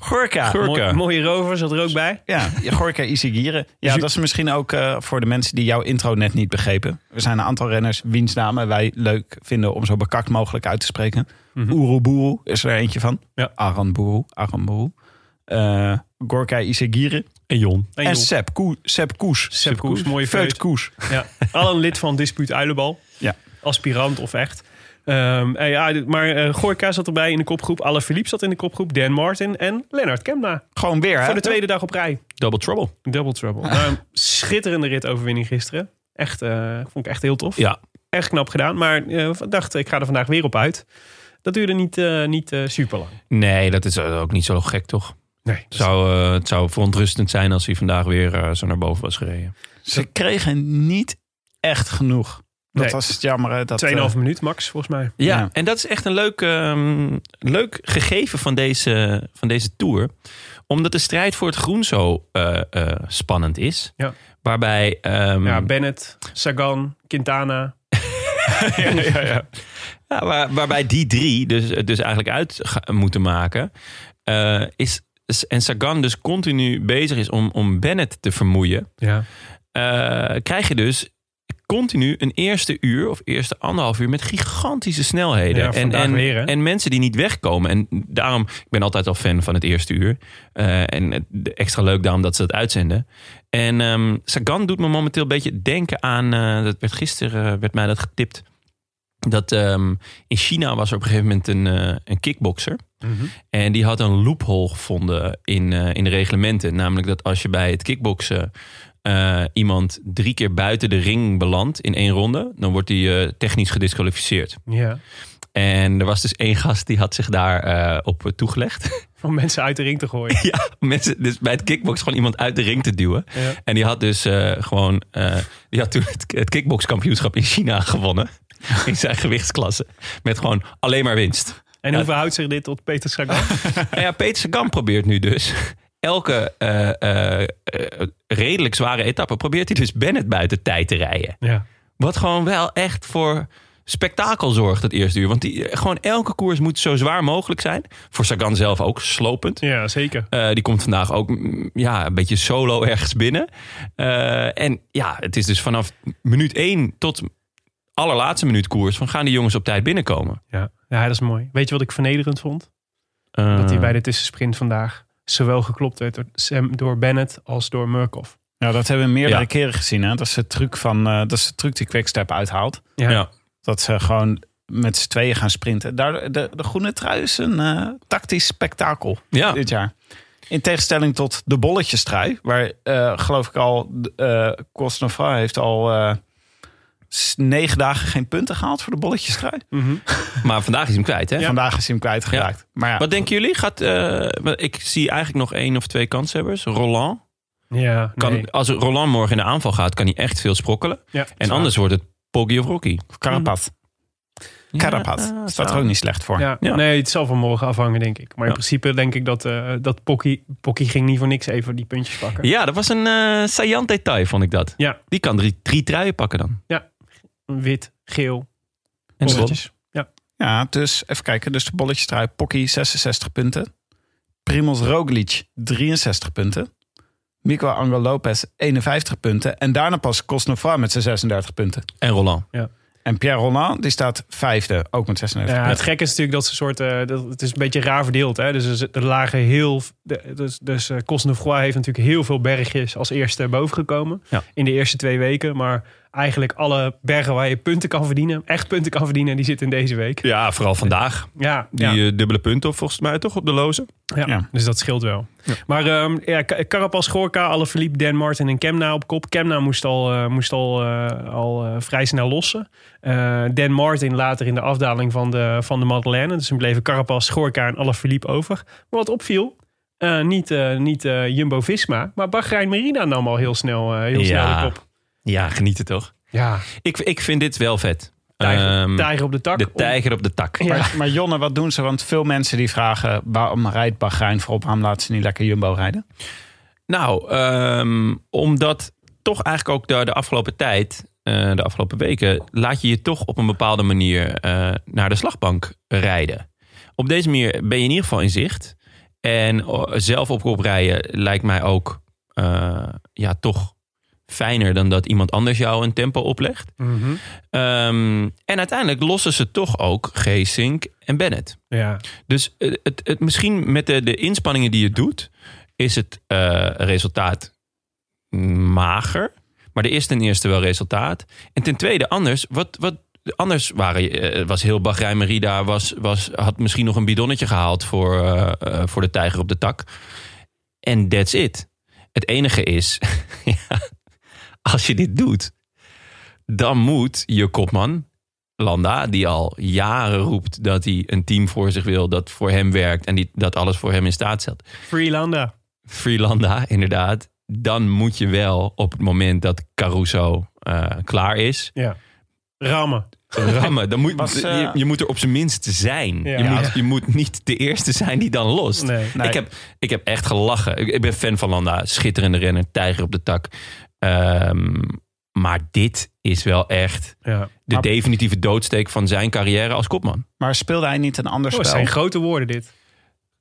Ah, Gorka. Gorka. mooi- mooie rover zat er ook bij. Ja, Gorka Isigieren. Ja, Ju- dat is misschien ook eh, voor de mensen die jouw intro net niet begrepen. Er zijn een aantal renners wiens namen wij leuk vinden om zo bekakt mogelijk uit te spreken. Mhm. Oeruburu is er eentje van. Ja. Aran Boeroe. Aran Boeroe. Eh, Gorka Isigieren. En Jon. En En joh, Sepp Koes. Sepp Koes. Sepp Koes, mooie Veut feut. Koes. Ja. Al een lid van Dispuut Uilenbal. Ja. Aspirant of echt. Ehm, en ja, dit- maar eh, Gorka zat erbij in de kopgroep. Alle Philippe zat in de kopgroep. Dan Martin en Lennart Kemna. Gewoon weer, hè? Voor de tweede dag op rij. Double trouble. Double Trouble. Nou, een schitterende ritoverwinning gisteren. Echt, eh, vond ik echt heel tof. Ja. Echt knap gedaan. Maar eh, ik dacht, ik ga er vandaag weer op uit. Dat duurde niet, eh, niet super lang. Nee, dat is eh, ook niet zo gek, toch? Nee. Het zou, eh, het zou verontrustend zijn als hij vandaag weer eh, zo naar boven was gereden. Ze kregen niet echt genoeg. Dat Nee. was het jammer. hè, Dat, 2,5 eh, minuut max, volgens mij. Ja, Ja. en dat is echt een leuk, ehm, leuk gegeven van deze, van deze tour. Omdat de strijd voor het groen zo eh, eh, spannend is. Ja. Waarbij. ehm, Ja, Bennett, Sagan, Quintana. ja, waar- waarbij die drie dus, dus eigenlijk uit ga- moeten maken. eh, is, is- en Sagan dus continu bezig is om, om Bennett te vermoeien. Ja. eh, krijg je dus continu een eerste uur of eerste anderhalf uur met gigantische snelheden. Ja, en, vandaag en, weer, hè? en mensen die niet wegkomen. En daarom, ik ben altijd al fan van het eerste uur. Eh, en het- de- extra leuk daarom dat ze dat uitzenden. En ehm, Sagan doet me momenteel een beetje denken aan, eh, dat werd gisteren, eh, werd mij dat getipt. Dat ehm, in China was er op een gegeven moment een, eh, een kickboxer. Mhm. En die had een loophole gevonden in, eh, in de reglementen. Namelijk dat als je bij het kickboksen eh, iemand drie keer buiten de ring belandt in één ronde, dan wordt die eh, technisch gedisqualificeerd. ja. En er was dus één gast die had zich daar eh, op toegelegd. Om mensen uit de ring te gooien. ja, mensen, dus bij het kickboksen gewoon iemand uit de ring te duwen. Ja. En die had dus eh, gewoon, eh, die had toen het, het kickbokskampioenschap in China gewonnen. In zijn gewichtsklasse. Met gewoon alleen maar winst. En hoe verhoudt zich dit tot Peter Sagan? Nou ja, Peter Sagan probeert nu dus elke eh, eh, eh, redelijk zware etappe probeert hij dus Bennett buiten tijd te rijden. ja. Wat gewoon wel echt voor spektakel zorgt het eerste uur. Want die, eh, gewoon elke koers moet zo zwaar mogelijk zijn. Voor Sagan zelf ook slopend. Ja, zeker. Eh, die komt vandaag ook mm, ja, een beetje solo ergens binnen. Eh, en ja, het is dus vanaf minuut 1 tot allerlaatste minuut koers... van gaan die jongens op tijd binnenkomen. Ja. ja, dat is mooi. Weet je wat ik vernederend vond? Eh, Dat hij bij de tussensprint vandaag zowel geklopt werd door, Sam, door Bennett als door Murkoff. Nou, dat hebben we meerdere Ja. keren gezien. Hè? Dat, is de truc van, eh, dat is de truc die Quickstep uithaalt. Ja. Ja. Dat ze gewoon met z'n tweeën gaan sprinten. Daar, de, de groene trui is een eh, tactisch spektakel Ja. dit jaar. In tegenstelling tot de bolletjes trui. Waar eh, geloof ik al eh Cosnefra heeft al eh, s- negen dagen geen punten gehaald voor de bolletjes trui. Maar vandaag is hem kwijt, hè? Vandaag is hij hem kwijtgeraakt. Maar ja, Wat denken jullie? Gaat, eh, wa- ik zie eigenlijk nog één of twee kanshebbers. Roland. Ja, Kan, nee. Als Roland morgen in de aanval gaat, kan hij echt veel sprokkelen. ja. En anders wordt het Poggi of Rocky. Karapat. Karapat. Ja, ah, Staat er zou- ook niet slecht voor. Ja. Ja. Nee, het zal van morgen afhangen, denk ik. Maar in Ja. principe denk ik dat, eh dat Pocky, Pocky ging niet voor niks even die puntjes pakken. Ja, dat was een eh saillant detail, vond ik dat. Ja. Die kan drie, drie truien pakken dan. Wit, geel, En de bolletjes. Ja, dus even kijken. Dus de bolletjes trui. Pocky 66 punten. Primoz Roglic 63 punten. Mico Angel Lopez 51 punten. En daarna pas Cosnefra met zijn 36 punten. bol. En Roland. En Pierre Roland die staat vijfde, ook met 36 Ja, punten. het gekke is natuurlijk dat ze soort. eh, dat, het is een beetje raar verdeeld. Hè? Dus er z- er lagen heel. de- Dus, dus eh, Cosnefroid heeft natuurlijk heel veel bergjes als eerste bovengekomen. Ja. In de eerste twee weken. Maar eigenlijk alle bergen waar je punten kan verdienen. Echt punten kan verdienen. Die zitten in deze week. Ja, vooral vandaag. Ja, Die ja, eh, dubbele punt op volgens mij toch op de loze. ja. ja. dus dat scheelt wel. Maar ehm ja, Ka- Carapaz, Gorka, Alaphilippe, Dan Martin en Kemna op kop. Kemna moest al, eh, moest al, eh, al eh, vrij snel lossen. Eh, Dan Martin later in de afdaling van de, van de Madeleine. Dus toen bleven Carapaz, Gorka en Alaphilippe over. Maar wat opviel, eh, niet, eh, niet eh, Jumbo-Visma, maar Bahrein Merida nam al heel snel, eh, heel snel Ja. de kop. Ja, genieten toch? Ja, Ik, ik vind dit wel vet. tijger, Ehm, tijger op de tak. de tijger op de tak. Ja. Maar, maar Jonne, wat doen ze? Want veel mensen die vragen waarom rijdt Bahrein voorop? Waarom laten ze niet lekker Jumbo rijden? Nou, ehm, omdat toch eigenlijk ook de, de afgelopen tijd, eh, de afgelopen weken, laat je je toch op een bepaalde manier eh, naar de slagbank rijden. Op deze manier ben je in ieder geval in zicht. En oh, zelf op kop rijden lijkt mij ook eh, ja, toch fijner dan dat iemand anders jou een tempo oplegt. Om- Mhm. Ehm, en uiteindelijk lossen ze toch ook Geesink en Bennett. Ja. Dus eh, het, het, misschien met de, de inspanningen die je doet, is het eh, resultaat mager. Maar er is ten eerste wel resultaat. En ten tweede, anders, wat, wat, anders waren, je- eh, was heel Bahrein Merida, was, was, had misschien nog een bidonnetje gehaald voor, eh, eh, voor de tijger op de tak. En that's it. Het enige is, ja, als je dit doet, dan moet je kopman Landa, die al jaren roept dat hij een team voor zich wil, dat voor hem werkt en die, dat alles voor hem in staat stelt. Freelanda. Freelanda, inderdaad. Dan moet je wel op het moment dat Caruso eh, klaar is, Ja. Rammen. rammen. Dan moet, Was, eh, je, je moet er op zijn minst zijn. Ja. Je, Ja. moet, je moet niet de eerste zijn die dan lost. Nee. Ik, heb, ik heb echt gelachen. Ik, ik ben fan van Landa. Schitterende renner, tijger op de tak. Ehm, maar dit is wel echt Ja. de Maar- definitieve doodsteek van zijn carrière als kopman. Maar speelde hij niet een ander Oh, het spel? zijn grote woorden dit.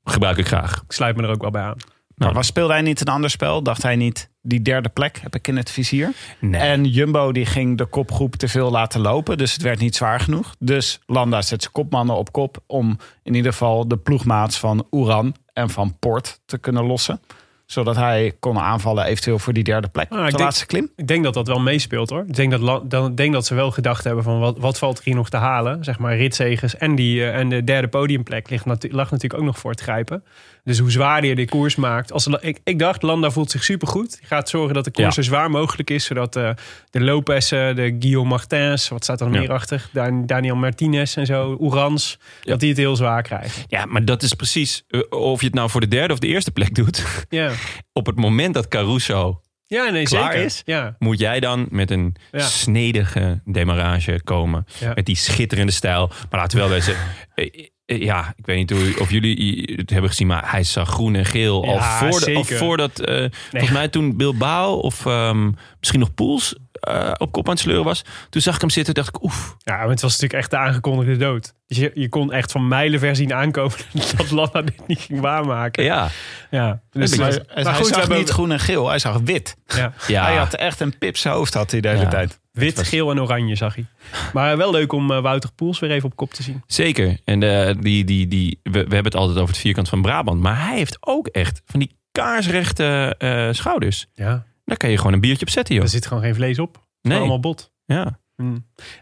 Gebruik ik graag. Ik sluit me er ook wel bij aan. Maar was, speelde hij niet een ander spel? Dacht hij niet, die derde plek heb ik in het vizier? En Jumbo die ging de kopgroep te veel laten lopen. Dus het werd niet zwaar genoeg. Dus Landa zet zijn kopmannen op kop. Om in ieder geval de ploegmaats van Oeran en van Port te kunnen lossen. Zodat hij kon aanvallen eventueel voor die derde plek. Ah, ik op de denk- laatste klim. Ik denk dat dat wel meespeelt hoor. Ik denk dat, la- dan, ik denk dat ze wel gedacht hebben van wat, wat valt er hier nog te halen. Zeg maar ritzegers en, die, eh, en de derde podiumplek ligt natu- lag natuurlijk ook nog voor het grijpen. Dus hoe zwaarder je de koers maakt. Als, la- ik, ik dacht, Landa voelt zich supergoed. Hij gaat zorgen dat de koers Ja. zo zwaar mogelijk is. Zodat eh, de Lopessen, de Guillaume Martins, wat staat er nog Ja. meer achter? Dan- Daniel Martinez en zo, Oerans. Ja. Dat die het heel zwaar krijgen. Ja, maar dat is precies eh, of je het nou voor de derde of de eerste plek doet. Ja, Op het moment dat Caruso ja nee, Klaar zeker. is? Ja, moet jij dan met een Ja. snedige demarrage komen. Ja. Met die schitterende stijl. Maar laten we wel wezen. eh, eh, Ja, ik weet niet hoe, of jullie het hebben gezien, maar hij zag groen en geel al, Ja, voor de, al zeker. voordat. eh, Volgens mij toen Bilbao of ehm, misschien nog Poels eh, op kop aan het sleuren was. Toen zag ik hem zitten, dacht ik, oef. Ja, maar het was natuurlijk echt de aangekondigde dood. Dus je, je kon echt van mijlenver zien aankomen dat Lana dit niet ging waarmaken. Ja, Ja. Dus, maar, maar, hij maar goed, goed, we zag hebben niet groen en geel, hij zag wit. Ja. ja. Hij had echt een pips hoofd had hij de hele Ja. tijd. Wit, geel en oranje zag hij. Maar wel leuk om eh, Wouter Poels weer even op kop te zien. Zeker. En eh, die, die, die, we, we hebben het altijd over het vierkant van Brabant. Maar hij heeft ook echt van die kaarsrechte eh, schouders. Ja. Daar kan je gewoon een biertje op zetten, joh. Er zit gewoon geen vlees op. Nee, Allemaal bot. ja.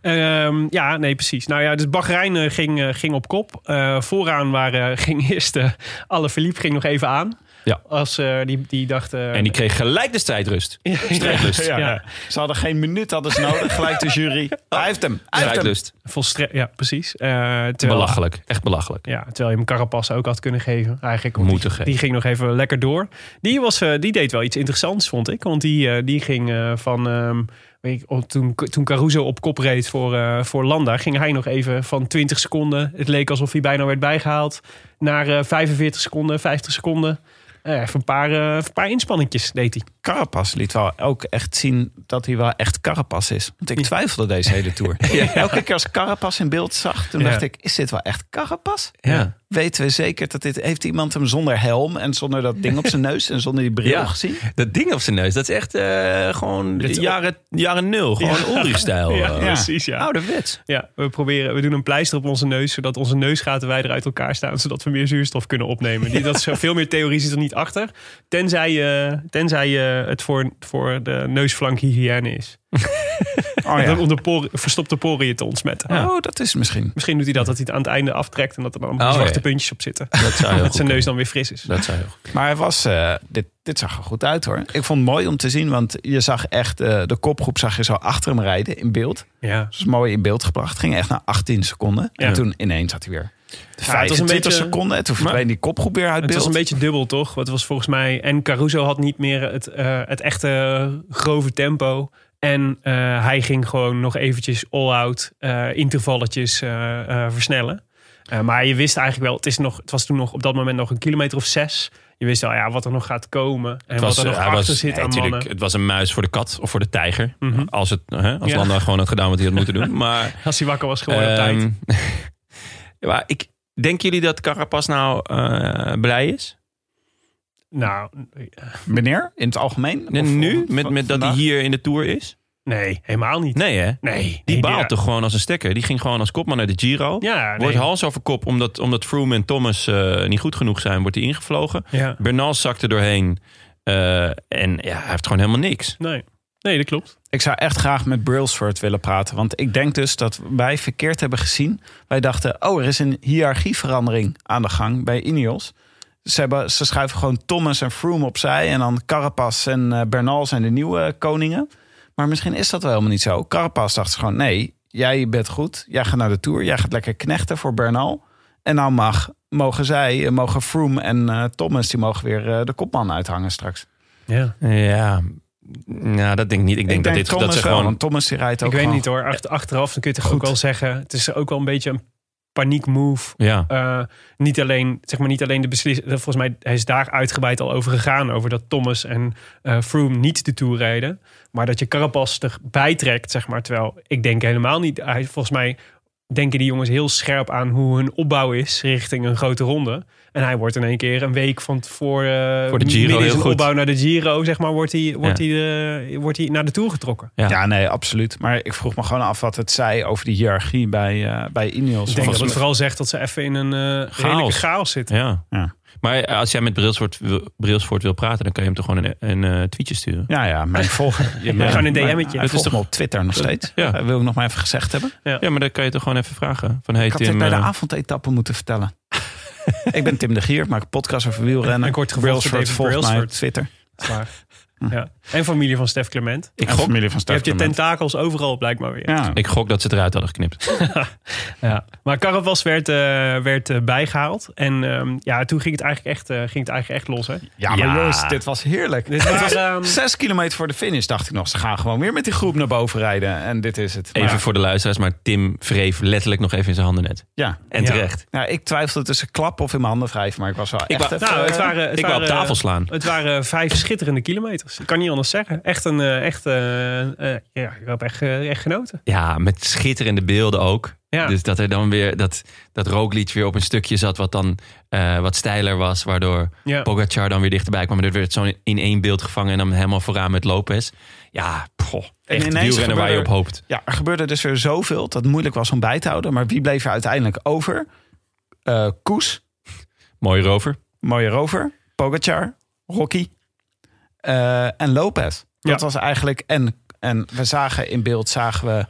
Ehm, ja, nee, precies. Nou ja, dus Bahrein eh, ging, eh, ging op kop. Eh, vooraan waren, ging eerst eh alle verliep ging nog even aan. Ja. Als eh, die, die dacht. eh, En die kreeg gelijk de strijdrust. Strijdlust. Dus- Ja. Ja. Ze hadden geen minuut hadden ze nodig. Gelijk de jury. Hij heeft hem. Hij heeft hem. Strijdlust. volstre- ja, precies. Eh, terwijl, Belachelijk. Echt belachelijk. Ja, terwijl je hem Carapas ook had kunnen geven. Eigenlijk, want Moeten die, geven. die ging nog even lekker door. Die, was, eh, die deed wel iets interessants, vond ik. Want die, eh, die ging eh, van... ehm, weet ik, oh, toen, toen Caruso op kop reed voor, eh, voor Landa... ging hij nog even van 20 seconden... het leek alsof hij bijna werd bijgehaald... naar eh, 45 seconden, 50 seconden... Eh, even een paar, eh, een paar inspanningjes deed hij. Carapas liet wel ook echt zien dat hij wel echt Carapas is. Want ik twijfelde deze hele tour. Elke keer als Carapas in beeld zag, toen Ja. dacht ik, is dit wel echt Carapas? Ja. Weten we zeker dat dit, heeft iemand hem zonder helm en zonder dat ding op zijn neus en zonder die bril Ja. gezien? Dat ding op zijn neus, dat is echt eh, gewoon is ook- jaren, jaren nul. Gewoon Ulrich-stijl. eh. precies. Ja. Ouderwets. Ja, we proberen, we doen een pleister op onze neus, zodat onze neusgaten wijder uit elkaar staan, zodat we meer zuurstof kunnen opnemen. Die, dat is veel meer theorie zit er niet achter, tenzij, je tenzij je het voor, voor de neusflank hygiëne is. Oh, Dan ja. Om de poren, verstopte poren je te ontsmetten. oh, dat is misschien. Misschien doet hij dat, dat hij het aan het einde aftrekt en dat er dan Oh, zwarte ja. puntjes op zitten. Dat zou heel dat goed zijn kunnen. neus dan weer fris is. Dat zou heel goed Maar hij was, eh, dit, dit zag er goed uit hoor. Ik vond het mooi om te zien, want je zag echt, eh, de kopgroep zag je zo achter hem rijden in beeld. Ja. Dat is mooi in beeld gebracht. Ging echt naar 18 seconden. Ja. En toen ineens had hij weer Ja, het was een 25 beetje- seconden. En toen verdween die kopgroep weer uit Het beeld. was een beetje dubbel, toch? Want het was volgens mij. En Caruso had niet meer het, eh, het echte grove tempo. En eh, hij ging gewoon nog eventjes all-out eh, intervalletjes eh, eh, versnellen. Eh, maar je wist eigenlijk wel, het, is nog, het was toen nog op dat moment nog een kilometer of zes. Je wist wel ja, wat er nog gaat komen. En Het wat was, er nog eh, hij achter was- zit nee, aan tuurlijk, mannen. Het was een muis voor de kat of voor de tijger. Mhm. Als, het, hè, als Ja. Landa gewoon had gedaan wat hij had moeten doen. Maar, Als hij wakker was geworden op tijd. ehm, maar ik, denken jullie dat Carapaz nou eh, blij is? Nou, Meneer, in het algemeen? Of- En nu? of- Met, met dat hij vandaag? hier in de Tour is? nee, helemaal niet. Nee hè? Nee. nee, Die baalt ja. toch gewoon als een stekker? Die ging gewoon als kopman naar de Giro. Ja, nee. Wordt hals over kop omdat, omdat Froome en Thomas eh, niet goed genoeg zijn. Wordt hij ingevlogen. Ja. Bernal zakte doorheen. eh, en ja, hij heeft gewoon helemaal niks. Nee. nee, dat klopt. Ik zou echt graag met Brailsford willen praten. Want ik denk dus dat wij verkeerd hebben gezien. Wij dachten, oh, er is een hiërarchieverandering aan de gang bij Ineos. Ze, hebben, ze schuiven gewoon Thomas en Froome opzij. En dan Carapaz en eh, Bernal zijn de nieuwe koningen. Maar misschien is dat wel helemaal niet zo. Carapaz dacht ze gewoon, nee, jij bent goed. Jij gaat naar de Tour. Jij gaat lekker knechten voor Bernal. En nou mag, mogen zij, eh, mogen Froome en eh, Thomas... die mogen weer eh, de kopman uithangen straks. Ja. Ja, nou, dat denk ik niet. Ik denk, dat, dit, Thomas dat ze wel, gewoon... want Thomas die rijdt ook Ik weet gewoon niet hoor. Achter- Achteraf dan kun je toch ook Goed. wel zeggen. Het is ook wel een beetje een paniekmove. Ja, Eh, niet alleen, zeg maar, niet alleen de beslissing. Volgens mij hij is daar uitgebreid al over gegaan. Over dat Thomas en eh, Froome niet de Tour rijden. Maar dat je Carapaz erbij trekt, zeg maar. Terwijl ik denk helemaal niet. Hij, volgens mij denken die jongens heel scherp aan hoe hun opbouw is richting een grote ronde. En hij wordt in één keer een week van eh, voor, Voor de Giro heel goed. opbouw naar de Giro, zeg maar, wordt hij, wordt hij, eh, wordt hij naar de Tour getrokken. Ja. Ja. nee, absoluut. Maar ik vroeg me gewoon af wat het zei over die hiërarchie bij, eh, bij Ineos. Ik denk dat Volgens het vooral zegt dat ze even in een eh redelijke chaos zitten. ja. Ja. Maar als jij met Brailsford wil, Brailsford wil praten, dan kan je hem toch gewoon een, een eh, tweetje sturen. mij- ja, ja, mijn volger. Je Gewoon een DM'tje. Het Het is is toch- toch op Twitter nog steeds? Ja. Eh, wil ik nog maar even gezegd hebben. Ja, maar dan kan je toch gewoon even vragen. Van, hey, Ik had Tim, dit bij de eh, avondetappe moeten vertellen. ik ben Tim de Gier, maak een podcast over wielrennen. Ik word gevolgd door David Brailsford, volg mij op Brailsford. Twitter. Maar, ja. En familie van Stef Clement. Ik gok. familie van Je hebt je Stuifkerman. tentakels overal blijkbaar weer. Ja. ik gok dat ze het eruit hadden geknipt. Ja. Maar Carapaz werd, eh, werd eh, bijgehaald. En ehm, ja, toen ging het eigenlijk echt, eh, ging het eigenlijk echt los. Hè? ja, maar Ja. jongens, dit was heerlijk. Dit was, ehm, Zes kilometer voor de finish dacht ik nog. Ze gaan gewoon weer met die groep naar boven rijden. En dit is het. Maar Even voor de luisteraars, maar Tim wreef letterlijk nog even in zijn handen net. ja. En Ja. terecht. ja, ik twijfelde tussen klap of in mijn handen wrijven. Maar ik was wel Ik echt wou- even... nou, het waren, het Ik wou waren, op tafel slaan. Het waren vijf schitterende kilometers. Ik kan niet anders zeggen. Echt een, eh, echt, eh, eh, ja, ik heb echt, eh, echt genoten. Ja, met schitterende beelden ook. Ja. Dus dat er dan weer dat, dat Roglic weer op een stukje zat wat dan eh, wat steiler was. Waardoor Ja. Pogacar dan weer dichterbij kwam. Maar dat werd zo in één beeld gevangen en dan helemaal vooraan met Lopez. Ja, poh, echt ineens wielrennen waar je op gebeurde- hoopt. Ja, er gebeurde dus weer zoveel dat het moeilijk was om bij te houden. Maar wie bleef er uiteindelijk over? Eh, Koes, Mooi rover. mooie rover. Pogacar, Rocky eh, en Lopez. Dat Ja. was eigenlijk... En, en we zagen in beeld, zagen we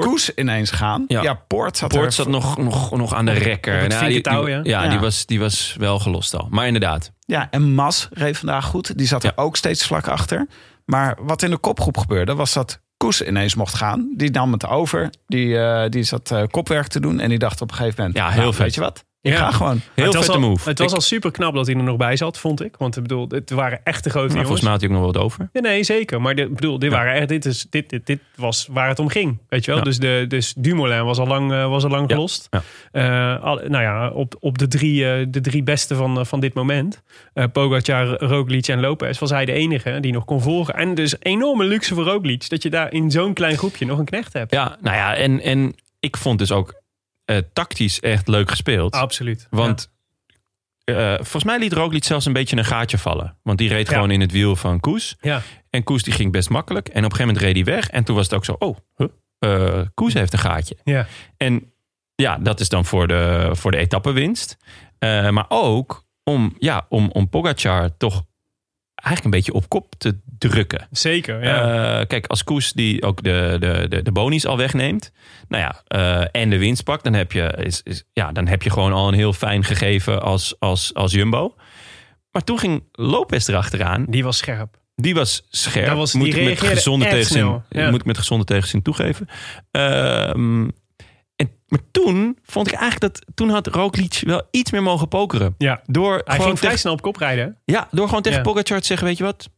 Koes ineens gaan. Ja. Ja, Poort zat er Poort zat nog, nog, nog aan de rekker. het die, vinkentouw, die- ja. ja, Ja. Die, was, die was wel gelost al. Maar inderdaad, Ja, en Mas reed vandaag goed. Die zat er Ja. ook steeds vlak achter. Maar wat in de kopgroep gebeurde, was dat Koes ineens mocht gaan. Die nam het over. Die, eh, die zat eh, kopwerk te doen. En die dacht op een gegeven moment... "Nou, Ja, heel vet. Weet je wat? Ik Ja. ga gewoon. heel het was vette al, move. Het was Ik- al super knap dat hij er nog bij zat, vond ik. Want ik bedoel, het waren echt de grote Nou, maar jongens. volgens mij had hij ook nog wel wat over. Nee, nee, zeker. Maar dit- ik bedoel, dit, waren echt, dit, is, dit, dit, dit was waar het om ging. Weet je wel? Ja. Dus, de, dus Dumoulin was al lang, eh, was al lang Ja, gelost. ja. Eh, al- nou ja, op, op de, drie, eh, de drie beste van, eh, van dit moment. eh Pogacar, Roglic en Lopez was hij de enige die nog kon volgen. En dus enorme luxe voor Roglic. Dat je daar in zo'n klein groepje nog een knecht hebt. Ja, nou ja, en, en ik vond dus ook eh, tactisch echt leuk gespeeld. Absoluut. Want eh, volgens mij liet Roglic zelfs een beetje een gaatje vallen. Want die reed Ja. gewoon in het wiel van Koes. Ja. En Koes die ging best makkelijk. En op een gegeven moment reed hij weg. En toen was het ook zo, oh, huh, eh, Koes heeft een gaatje. Ja. En ja, dat is dan voor de, voor de etappenwinst. Eh, maar ook om, ja, om, om Pogacar toch eigenlijk een beetje op kop te drukken. Ja, zeker. Ja. Eh, kijk, als Koes die ook de, de, de, de bonies al wegneemt. Nou ja, eh, en de winst pakt. Dan heb, je, is, is, ja, dan heb je gewoon al een heel fijn gegeven als, als, als Jumbo. Maar toen ging Lopez erachteraan. die was scherp. Die was scherp. Dat was- die moet, ik met reageerde gezonde echt tegenzin, snel, ja. moet ik met gezonde tegenzin toegeven. Ehm, en, maar toen vond ik eigenlijk dat... Toen had Roglic wel iets meer mogen pokeren. Ja. Door Hij gewoon ging vrij tegen, snel op kop rijden. hè? ja, door gewoon tegen Ja. Pogacar te zeggen... Weet je wat?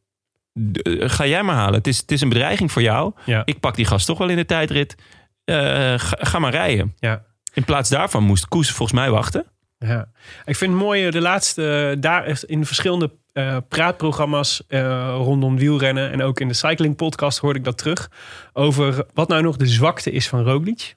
D- eh, ga jij maar halen. Het is, het is een bedreiging voor jou. Ja. Ik pak die gast toch wel in de tijdrit. Eh, ga, ga maar rijden. Ja. In plaats daarvan moest Koes volgens mij wachten. Ja, ik vind het mooi eh, de laatste eh, daar echt in verschillende eh, praatprogramma's eh, rondom wielrennen en ook in de cycling podcast hoorde ik dat terug over wat nou nog de zwakte is van Roglic.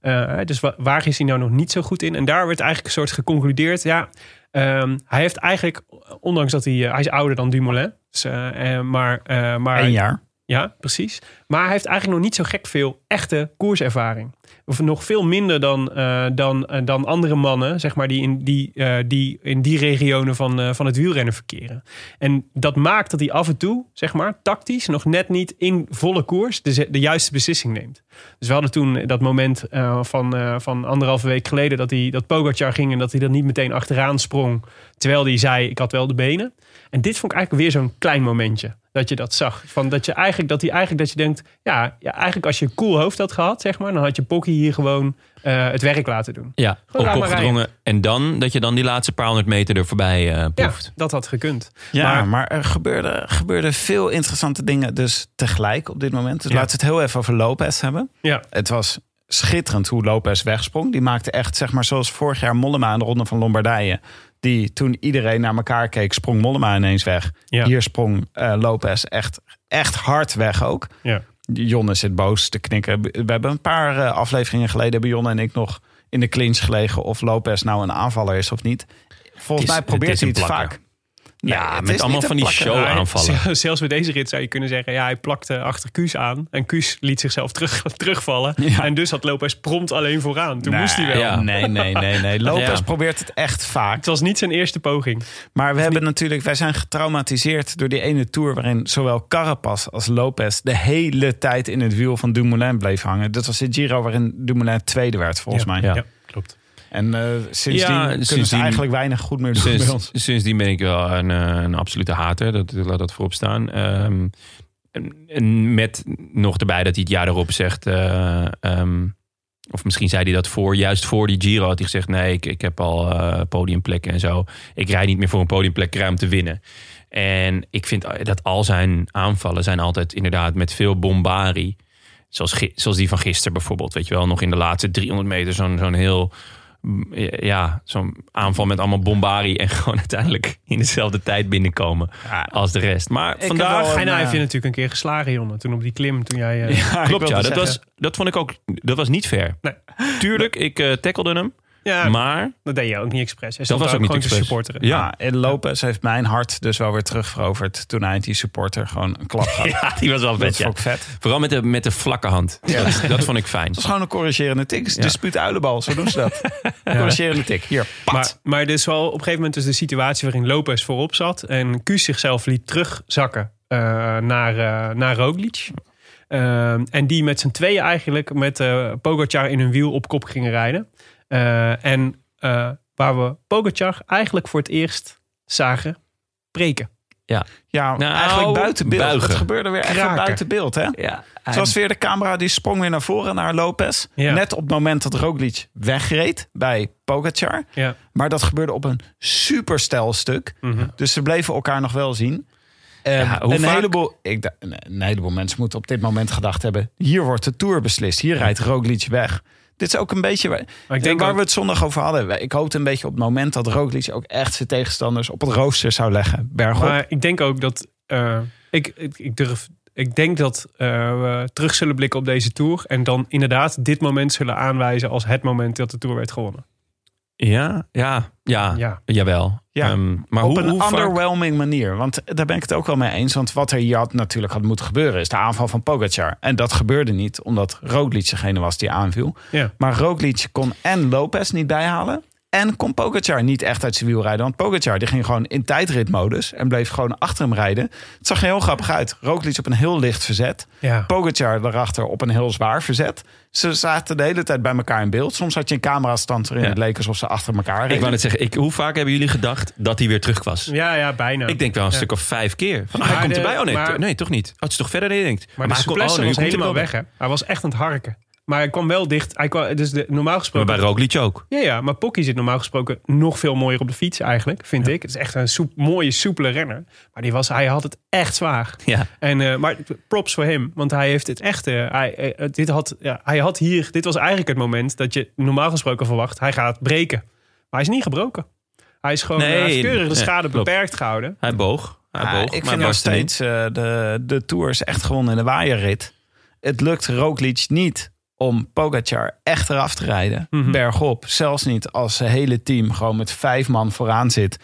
Eh, hè, dus wa- waar is hij nou nog niet zo goed in? En daar werd eigenlijk een soort geconcludeerd. Ja, ehm, hij heeft eigenlijk, ondanks dat hij, eh, hij is ouder dan Dumoulin, dus, eh, eh, maar, eh, maar Eén jaar. ja, precies. Maar hij heeft eigenlijk nog niet zo gek veel echte koerservaring. Of nog veel minder dan, eh, dan, eh, dan andere mannen, zeg maar, die in die, eh, die, in die regionen van, eh, van het wielrennen verkeren. En dat maakt dat hij af en toe, zeg maar, tactisch nog net niet in volle koers de, ze- de juiste beslissing neemt. Dus we hadden toen dat moment eh, van, eh, van anderhalve week geleden dat, hij, dat Pogacar ging en dat hij er niet meteen achteraan sprong. Terwijl hij zei, ik had wel de benen. En dit vond ik eigenlijk weer zo'n klein momentje. Dat je dat zag. Van dat je eigenlijk, dat hij eigenlijk, dat je denkt. Ja, ja, eigenlijk als je een cool hoofd had gehad, zeg maar. Dan had je Pocky hier gewoon eh, het werk laten doen. Ja, Gewoon op laat kop maar gedrongen. En dan dat je dan die laatste paar honderd meter er voorbij eh Ja, proeft. dat had gekund. Ja, Maar- maar, er gebeurden gebeurde veel interessante dingen dus tegelijk op dit moment. Dus Ja. laten we het heel even over Lopez hebben. Ja, Het was schitterend hoe Lopez wegsprong. Die maakte echt, zeg maar, zoals vorig jaar Mollema in de Ronde van Lombardije. Die toen iedereen naar elkaar keek, sprong Mollema ineens weg. Ja. Hier sprong eh, Lopez echt, echt hard weg ook. ja. Jonne zit boos te knikken. We hebben een paar eh, afleveringen geleden hebben Jonne en ik nog in de clinch gelegen of Lopez nou een aanvaller is of niet. Volgens Het is- mij probeert het is hij een het plakker. vaak. Ja, Nee, het met is allemaal niet van een die plakker. show aanvallen. Maar Zelfs met deze rit zou je kunnen zeggen: ja, hij plakte achter Kuus aan. En Kuus liet zichzelf terug, terugvallen. Ja. En dus had Lopez prompt alleen vooraan. Toen moest hij wel. ja. Nee, nee, nee, nee. Lopez Ja. probeert het echt vaak. Het was niet zijn eerste poging. Maar we hebben natuurlijk, wij zijn getraumatiseerd door die ene tour waarin zowel Carapaz als Lopez de hele tijd in het wiel van Dumoulin bleef hangen. Dat was de Giro waarin Dumoulin tweede werd, volgens mij. Ja. Ja, klopt. En eh, sindsdien Ja, kunnen ze sindsdien- eigenlijk weinig goed meer doen bij Sinds, ons. sindsdien ben ik wel een, eh, een absolute hater. Dat, laat dat voorop staan. Ehm, en- en met nog erbij dat hij het jaar erop zegt. eh, ehm, of misschien zei hij dat voor, juist voor die Giro had hij gezegd: nee, ik, ik heb al eh, podiumplekken en zo. Ik rijd niet meer voor een podiumplek, ik rij om te winnen. En ik vind dat al zijn aanvallen zijn altijd inderdaad met veel bombarie. Zoals, gi- zoals die van gisteren bijvoorbeeld. Weet je wel, nog in de laatste 300 meter zo'n zo'n heel m, ja, zo'n aanval met allemaal bombari en gewoon uiteindelijk in dezelfde tijd binnenkomen als de rest. Maar heb vandaag wel een, En hij heeft je eh, natuurlijk een keer geslagen, jongen. Toen op die klim, toen jij... eh, Ja, ik klopt wilde ja, dat, zeggen. was, dat vond ik ook, dat was niet fair. Nee. Tuurlijk, ik eh tackelde hem, ja, maar dat deed je ook niet expres. dat Hij stond was ook daar niet gewoon te expres. supporteren. Ja. Ja, en Lopez heeft mijn hart dus wel weer terugveroverd toen hij die supporter gewoon een klap gaf. ja, die was wel dat vet. ja. vond ik vet. Vooral met de, met de vlakke hand. Dat, dat vond ik fijn. Dat is gewoon een corrigerende tik. Het is Ja. Dispuut uilenbal, zo doen ze dat. Corrigerende tik. Hier, pat. Maar, maar dit is wel op een gegeven moment dus de situatie waarin Lopez voorop zat. En Kuus zichzelf liet terugzakken eh, naar, eh naar Roglic. Ehm, en die met z'n tweeën eigenlijk met eh Pogacar in hun wiel op kop gingen rijden. Eh, en eh, waar we Pogacar eigenlijk voor het eerst zagen preken. ja, Nou, eigenlijk buiten beeld. buigen. Het gebeurde weer echt Kraken. buiten beeld, hè? Ja, Het was weer de camera die sprong weer naar voren naar Lopez. Ja. Net op het moment dat Roglic wegreed bij Pogacar. Ja. Maar dat gebeurde op een superstel stuk. Dus ze bleven elkaar nog wel zien. Eh, Mhm. Ja, hoe een, vaak- heleboel, ik, da- een- een heleboel mensen moeten op dit moment gedacht hebben... hier wordt de Tour beslist, hier rijdt Roglic weg. Dit is ook een beetje waar, Maar ik en denk waar ook- we het zondag over hadden. Ik hoopte een beetje op het moment dat Roglic ook echt zijn tegenstanders... op het rooster zou leggen, bergop. Maar ik denk ook dat. eh, ik, ik, ik durf. Ik denk dat eh, we terug zullen blikken op deze tour. En dan inderdaad dit moment zullen aanwijzen als het moment dat de tour werd gewonnen. Ja, ja, ja, Ja. jawel. Ja. Ehm, maar op hoe, een hoe vaak- underwhelming manier. Want daar ben ik het ook wel mee eens. Want wat er hier had, natuurlijk had moeten gebeuren... is de aanval van Pogacar. En dat gebeurde niet, omdat Roglic degene was die aanviel. Ja. Maar Roglic kon en Lopez niet bijhalen... en kon Pogacar niet echt uit zijn wiel rijden. Want Pogacar die ging gewoon in tijdritmodus... en bleef gewoon achter hem rijden. Het zag er heel grappig uit. Roglic op een heel licht verzet. Ja. Pogacar daarachter op een heel zwaar verzet. Ze zaten de hele tijd bij elkaar in beeld. Soms had je een camerastand waarin Ja. het leek alsof ze achter elkaar reden. Ik wou net zeggen, ik, hoe vaak hebben jullie gedacht dat hij weer terug was? Ja, ja, bijna. Ik denk wel een Ja. stuk of vijf keer. Van, ah, Maar hij komt de- erbij. Oh nee, maar- to- nee, toch niet. Oh, het is toch verder dan je denkt. Maar, hij de komt- souplesse oh, nee, was nu komt hij helemaal er wel weg, hè? Hij was echt aan het harken. Maar hij kwam wel dicht. Hij kwam, dus de, normaal Maar gesproken. bij Roglic ook. Ja, ja, maar Pocky zit normaal gesproken nog veel mooier op de fiets eigenlijk, vind ik. Het is echt een soep- mooie, soepele renner. Maar die was, hij had het echt zwaar. Ja. En, eh, maar props voor hem, want hij heeft het echt... eh, hij, eh, dit, had, ja, hij had hier, dit was eigenlijk het moment dat je normaal gesproken verwacht... hij gaat breken. Maar hij is niet gebroken. Hij is gewoon Nee, eh, hij heeft keurig de nee, schade klopt. beperkt gehouden. Hij boog. Hij Ah, boog. ik maar vind nog barstte niet. steeds eh, de, de Tour is echt gewonnen in de waaierrit. Het lukt Roglic niet om Pogacar echt eraf te rijden. Mhm. Bergop. Zelfs niet als zijn hele team gewoon met vijf man vooraan zit.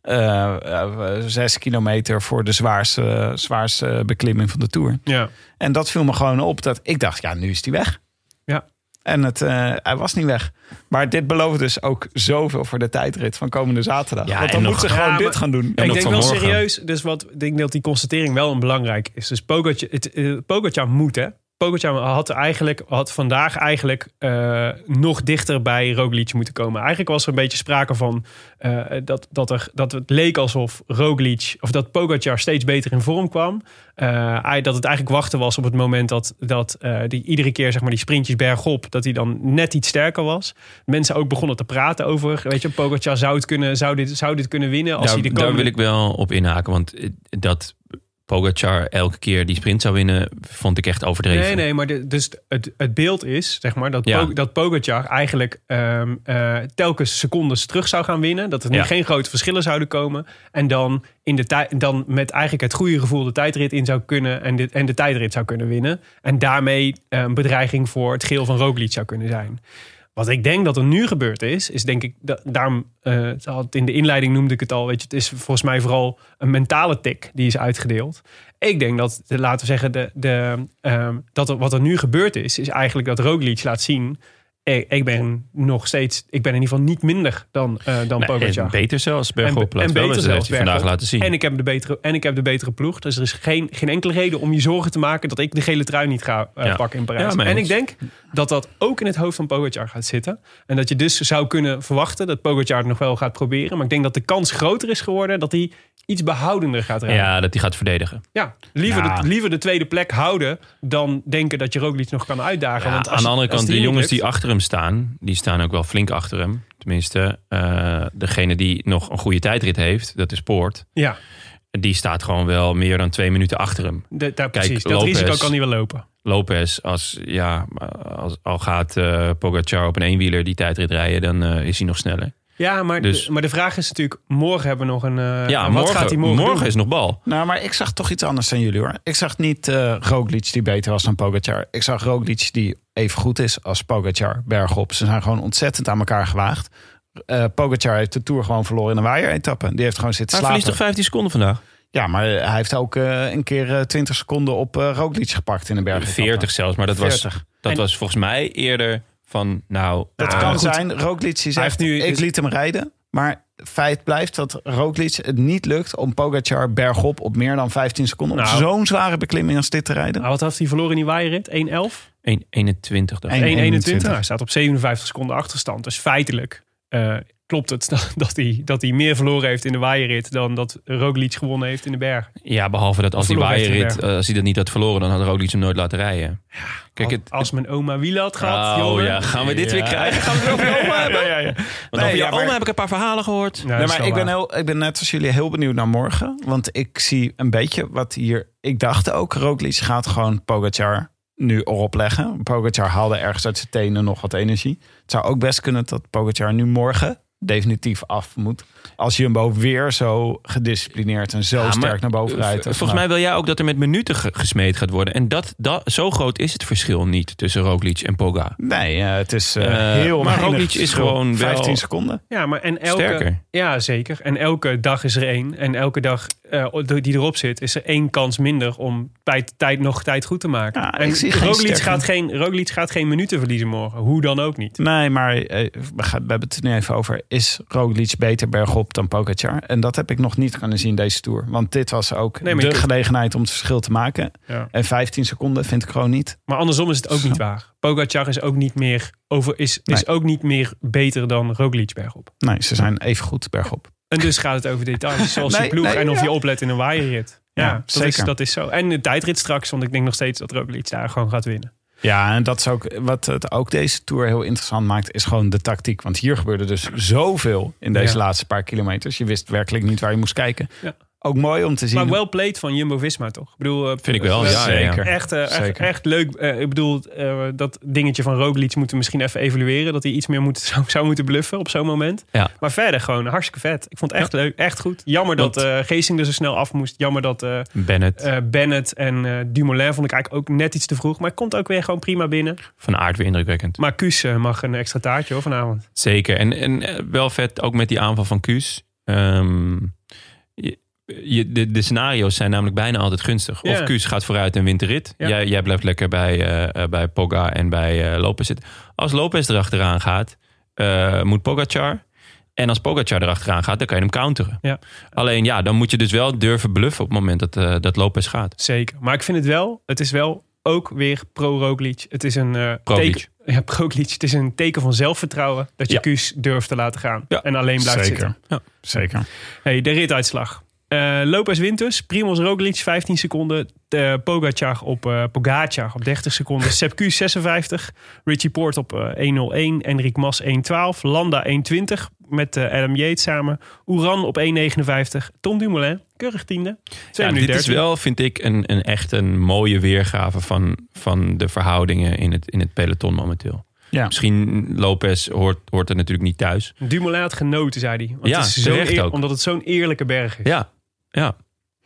Eh, eh, zes kilometer voor de zwaarste, zwaarste beklimming van de Tour. Ja. En dat viel me gewoon op. Dat ik dacht, ja, nu is hij weg. Ja. En het, eh, hij was niet weg. Maar dit belooft dus ook zoveel voor de tijdrit van komende zaterdag. Ja, Want en dan nog- moeten ze Ja, gewoon maar- dit gaan doen. En ik ook denk wel vanmorgen. serieus, dus wat, ik denk dat die constatering wel een belangrijk is. Dus Pogacar, het, eh, Pogacar moet, hè? Pogacar had, eigenlijk, had vandaag eigenlijk eh, nog dichter bij Roglic moeten komen. Eigenlijk was er een beetje sprake van eh, dat, dat, er, dat het leek alsof Roglic... of dat Pogacar steeds beter in vorm kwam. Eh, hij- dat het eigenlijk wachten was op het moment dat, dat eh, die iedere keer zeg maar, die sprintjes bergop... dat hij dan net iets sterker was. Mensen ook begonnen te praten over... weet je, Pogacar zou, het kunnen, zou, dit, zou dit kunnen winnen als hij Nou, daar, de daar komende wil ik wel op inhaken. Want eh, dat Pogacar elke keer die sprint zou winnen, vond ik echt overdreven. Nee, nee, maar de- dus het, het beeld is, zeg maar, dat, Ja. Po- dat Pogacar eigenlijk ehm, eh, telkens secondes terug zou gaan winnen. Dat er nu Ja. geen grote verschillen zouden komen. En dan, in de tij- dan met eigenlijk het goede gevoel de tijdrit in zou kunnen en de, en de tijdrit zou kunnen winnen. En daarmee eh, een bedreiging voor het geel van Roglic zou kunnen zijn. Wat ik denk dat er nu gebeurd is, is denk ik, dat, daarom, eh, ze had- in de inleiding noemde ik het al, weet je, het is volgens mij vooral een mentale tik die is uitgedeeld. Ik denk dat, de- laten we zeggen, de, de, ehm, dat er, wat er nu gebeurd is, is eigenlijk dat Roglic laat zien, ik, ik ben nog steeds, ik ben in ieder geval niet minder dan, eh dan Nee, Pogacar. en beter zelfs. Bergop laat wel eens, dat heeft hij vandaag bergop. laten zien. En ik, heb de betere, en ik heb de betere ploeg. Dus er is geen, geen enkele reden om je zorgen te maken dat ik de gele trui niet ga eh, Ja. pakken in Ja, Parijs. mee en ik eens. denk dat dat ook in het hoofd van Pogacar gaat zitten. En dat je dus zou kunnen verwachten dat Pogacar het nog wel gaat proberen. Maar ik denk dat de kans groter is geworden dat hij iets behoudender gaat rijden. Ja. ja, dat hij gaat verdedigen. liever, Nou. de, liever de tweede plek houden dan denken dat je Roglic nog kan uitdagen. Ja, Want aan als de je- andere als kant, de niet jongens lukt- die achter hem staan, die staan ook wel flink achter hem. Tenminste, eh, degene die nog een goede tijdrit heeft, dat is Poort. Ja, Die staat gewoon wel meer dan twee minuten achter hem. De, daar, Kijk, precies. Dat Lopez- risico kan hij wel lopen. Lopez, als, ja, als, al gaat eh Pogacar op een eenwieler die tijdrit rijden, dan eh, is hij nog sneller. Ja, maar, Dus- maar de vraag is natuurlijk, morgen hebben we nog een... eh, ja, wat morgen, gaat hij morgen, morgen doen? is nog bal. Nou, maar ik zag toch iets anders dan jullie hoor. Ik zag niet eh Roglic die beter was dan Pogacar. Ik zag Roglic die even goed is als Pogacar bergop. Ze zijn gewoon ontzettend aan elkaar gewaagd. Eh Pogacar heeft de Tour gewoon verloren in een waaieretappe. Die heeft gewoon zitten Hij verliest slapen. toch 15 seconden vandaag? Ja, maar hij heeft ook eh, een keer eh, 20 seconden op eh Roglic gepakt in een berg. 40 zelfs, maar dat, was, 40. dat En- was volgens mij eerder van, nou... Dat ah, kan goed. zijn. Roglic die zegt, heeft nu- ik liet hem rijden. Maar feit blijft dat Roglic het niet lukt om Pogacar bergop op meer dan 15 seconden... op Nou. zo'n zware beklimming als dit te rijden. Nou, wat had hij verloren in die waaierrit? 1-11? 1, 21 dacht ik. Eén- 1,21. 21. Nou, hij staat op 57 seconden achterstand. Dus feitelijk eh, klopt het dat- dat hij, dat hij meer verloren heeft in de waaierrit... dan dat Roglic gewonnen heeft in de berg. Ja, behalve dat als die Verloren heeft hij waaierrit, eh, als hij dat niet had verloren, dan had Roglic hem nooit laten rijden. Kijk, het... Als mijn oma wielen had gehad, oh Oh, jongen. ja, gaan we dit weer Ja. krijgen? Gaan we het over je oma hebben? Ja, ja, ja. Want Nee, over je ja, maar- oma heb ik een paar verhalen gehoord. Ja, Nee, dat is maar wel ik ben, waar. heel, ik ben net als jullie heel benieuwd naar morgen. Want ik zie een beetje wat hier... Ik dacht ook, Roglic gaat gewoon Pogacar nu erop leggen. Pogacar haalde ergens uit zijn tenen nog wat energie. Het zou ook best kunnen dat Pogacar nu morgen definitief af moet. Als Jumbo weer zo gedisciplineerd en zo Ja, maar, sterk naar boven eh, rijdt. Nou, v- Volgens mij wil jij ook dat er met minuten ge- gesmeed gaat worden. En dat, dat, zo groot is het verschil niet tussen Roglic en Poga. Nee, eh, het is eh, Eh, heel maar weinig Roglic is verschil. gewoon wel- 15 seconden. Ja, maar en elke, Sterker. Ja, zeker. En elke dag is er één. En elke dag eh, die erop zit, is er één kans minder om tijd, tijd, nog tijd goed te maken. Ja, en ik zie geen Roglic, sterke- gaat geen, Roglic gaat geen minuten verliezen morgen. Hoe dan ook niet. Nee, maar eh, we, gaan- we hebben het er nu even over. Is Roglic beter bergop dan Pogacar? En dat heb ik nog niet kunnen zien deze Tour. Want dit was ook Nee, maar je de kunt- gelegenheid om het verschil te maken. Ja. En 15 seconden vind ik gewoon niet. Maar andersom is het ook niet waar. Pogacar is ook niet meer, over, is, is Nee. ook niet meer beter dan Roglic bergop. Nee, ze zijn even goed bergop. En dus gaat het over details, zoals Nee, je ploeg nee, en of ja. je oplet in een waaierrit. Ja, Ja, dat, Is, zeker. dat is zo. En de tijdrit straks, want ik denk nog steeds dat Roglic daar gewoon gaat winnen. Ja, en dat is ook wat het ook deze Tour heel interessant maakt, is gewoon de tactiek. Want hier gebeurde dus zoveel in deze Ja. laatste paar kilometers. Je wist werkelijk niet waar je moest kijken. Ja. Ook mooi om te zien. Maar wel played van Jumbo-Visma, toch? Ik bedoel, eh, Vind ik wel, ja, ja, ja. Echt, eh, echt, Zeker. echt leuk. Eh, ik bedoel, eh, dat dingetje van Roglic moeten we misschien even evalueren. Dat hij iets meer moet, zou, zou moeten bluffen op zo'n moment. Ja. Maar verder gewoon hartstikke vet. Ik vond het echt leuk, echt goed. Jammer dat Want- eh Geesing er zo snel af moest. Jammer dat eh, Bennett, eh, Bennett en eh, Dumoulin vond ik eigenlijk ook net iets te vroeg. Maar het komt ook weer gewoon prima binnen. van aard weer indrukwekkend. Maar Kuus eh, mag een extra taartje hoor, vanavond. Zeker. En, en eh, wel vet, ook met die aanval van Kuus. Ehm, je, je- de, de scenario's zijn namelijk bijna altijd gunstig. Ja. Of Kuus gaat vooruit en wint de rit. Ja. Jij, jij blijft lekker bij, eh, eh, bij Pogga en bij eh, Lopez zitten. Als Lopez erachteraan gaat, eh, moet Pogacar. En als Pogacar erachteraan gaat, dan kan je hem counteren. Ja. Alleen ja, dan moet je dus wel durven bluffen op het moment dat, eh, dat Lopez gaat. Zeker. Maar ik vind het wel, het is wel ook weer pro-Roglic. Het is een eh, Proglic. teken. Ja, Proglic. Het is een teken van zelfvertrouwen dat je Ja. Kuus durft te laten gaan. Ja, En alleen blijft zitten. Zeker. Ja. Zeker. Hey, de rituitslag. Eh Lopez wint dus. Primoz Roglic 15 seconden. Eh, Pogacar op, eh Pogacar op 30 seconden. Sepp Kuss 56. Richie Poort op eh, 1.01. Enric Mas 1.12. Landa 1.20 met eh, Adam Yates samen. Oeran op 1.59. Tom Dumoulin, keurig tiende. 2 Ja, dit minuten is 13. wel, vind ik, een, een echt een mooie weergave van, van de verhoudingen in het, in het peloton momenteel. Ja. Misschien Lopez hoort, hoort er natuurlijk niet thuis. Dumoulin had genoten, zei hij. Want Ja, het is zo terecht eer- ook. Omdat het zo'n eerlijke berg is. Ja, ja.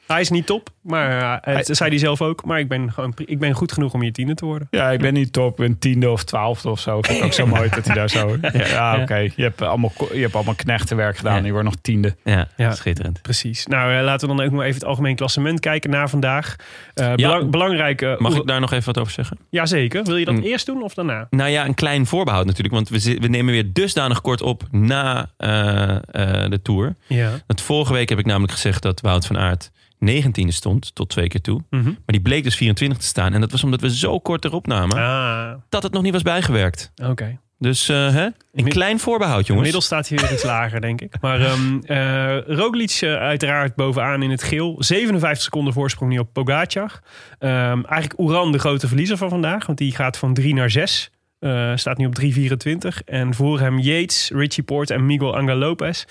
Hij is niet top, maar eh, het, Hij- zei hij zelf ook. Maar ik ben, gewoon, pri- ik ben goed genoeg om je tiende te worden. Ja, ik ben niet top, een tiende of twaalfde of zo. Vind ik ook zo mooi dat hij daar zo... Ja, oké. Je, hebt allemaal ko- je hebt allemaal knechtenwerk gedaan Ja. en je wordt nog tiende. ja, Ja. schitterend. Precies. Nou, eh, laten we dan ook nog even het algemeen klassement kijken naar vandaag. Eh belang- belangrijk. eh, Mag oer- ik daar nog even wat over zeggen? Jazeker. Wil je dat Mm. eerst doen of daarna? Nou ja, een klein voorbehoud natuurlijk. Want we, zi- we nemen weer dusdanig kort op na eh, eh, de Tour. Ja. Want vorige week heb ik namelijk gezegd dat Wout van Aert 19e stond, tot twee keer toe. Mhm. Maar die bleek dus 24 te staan. En dat was omdat we zo kort erop namen, Ah, dat het nog niet was bijgewerkt. oké. Dus eh, hè? een Mi- klein voorbehoud, jongens. Inmiddels staat hij weer iets lager, denk ik. Maar ehm eh, Roglic eh, uiteraard bovenaan in het geel. 57 seconden voorsprong nu op Pogacar. Ehm, eigenlijk Oeran de grote verliezer van vandaag. Want die gaat van 3 naar 6. eh, staat nu op 3,24. En voor hem Yates, Richie Poort en Miguel Angel Lopez.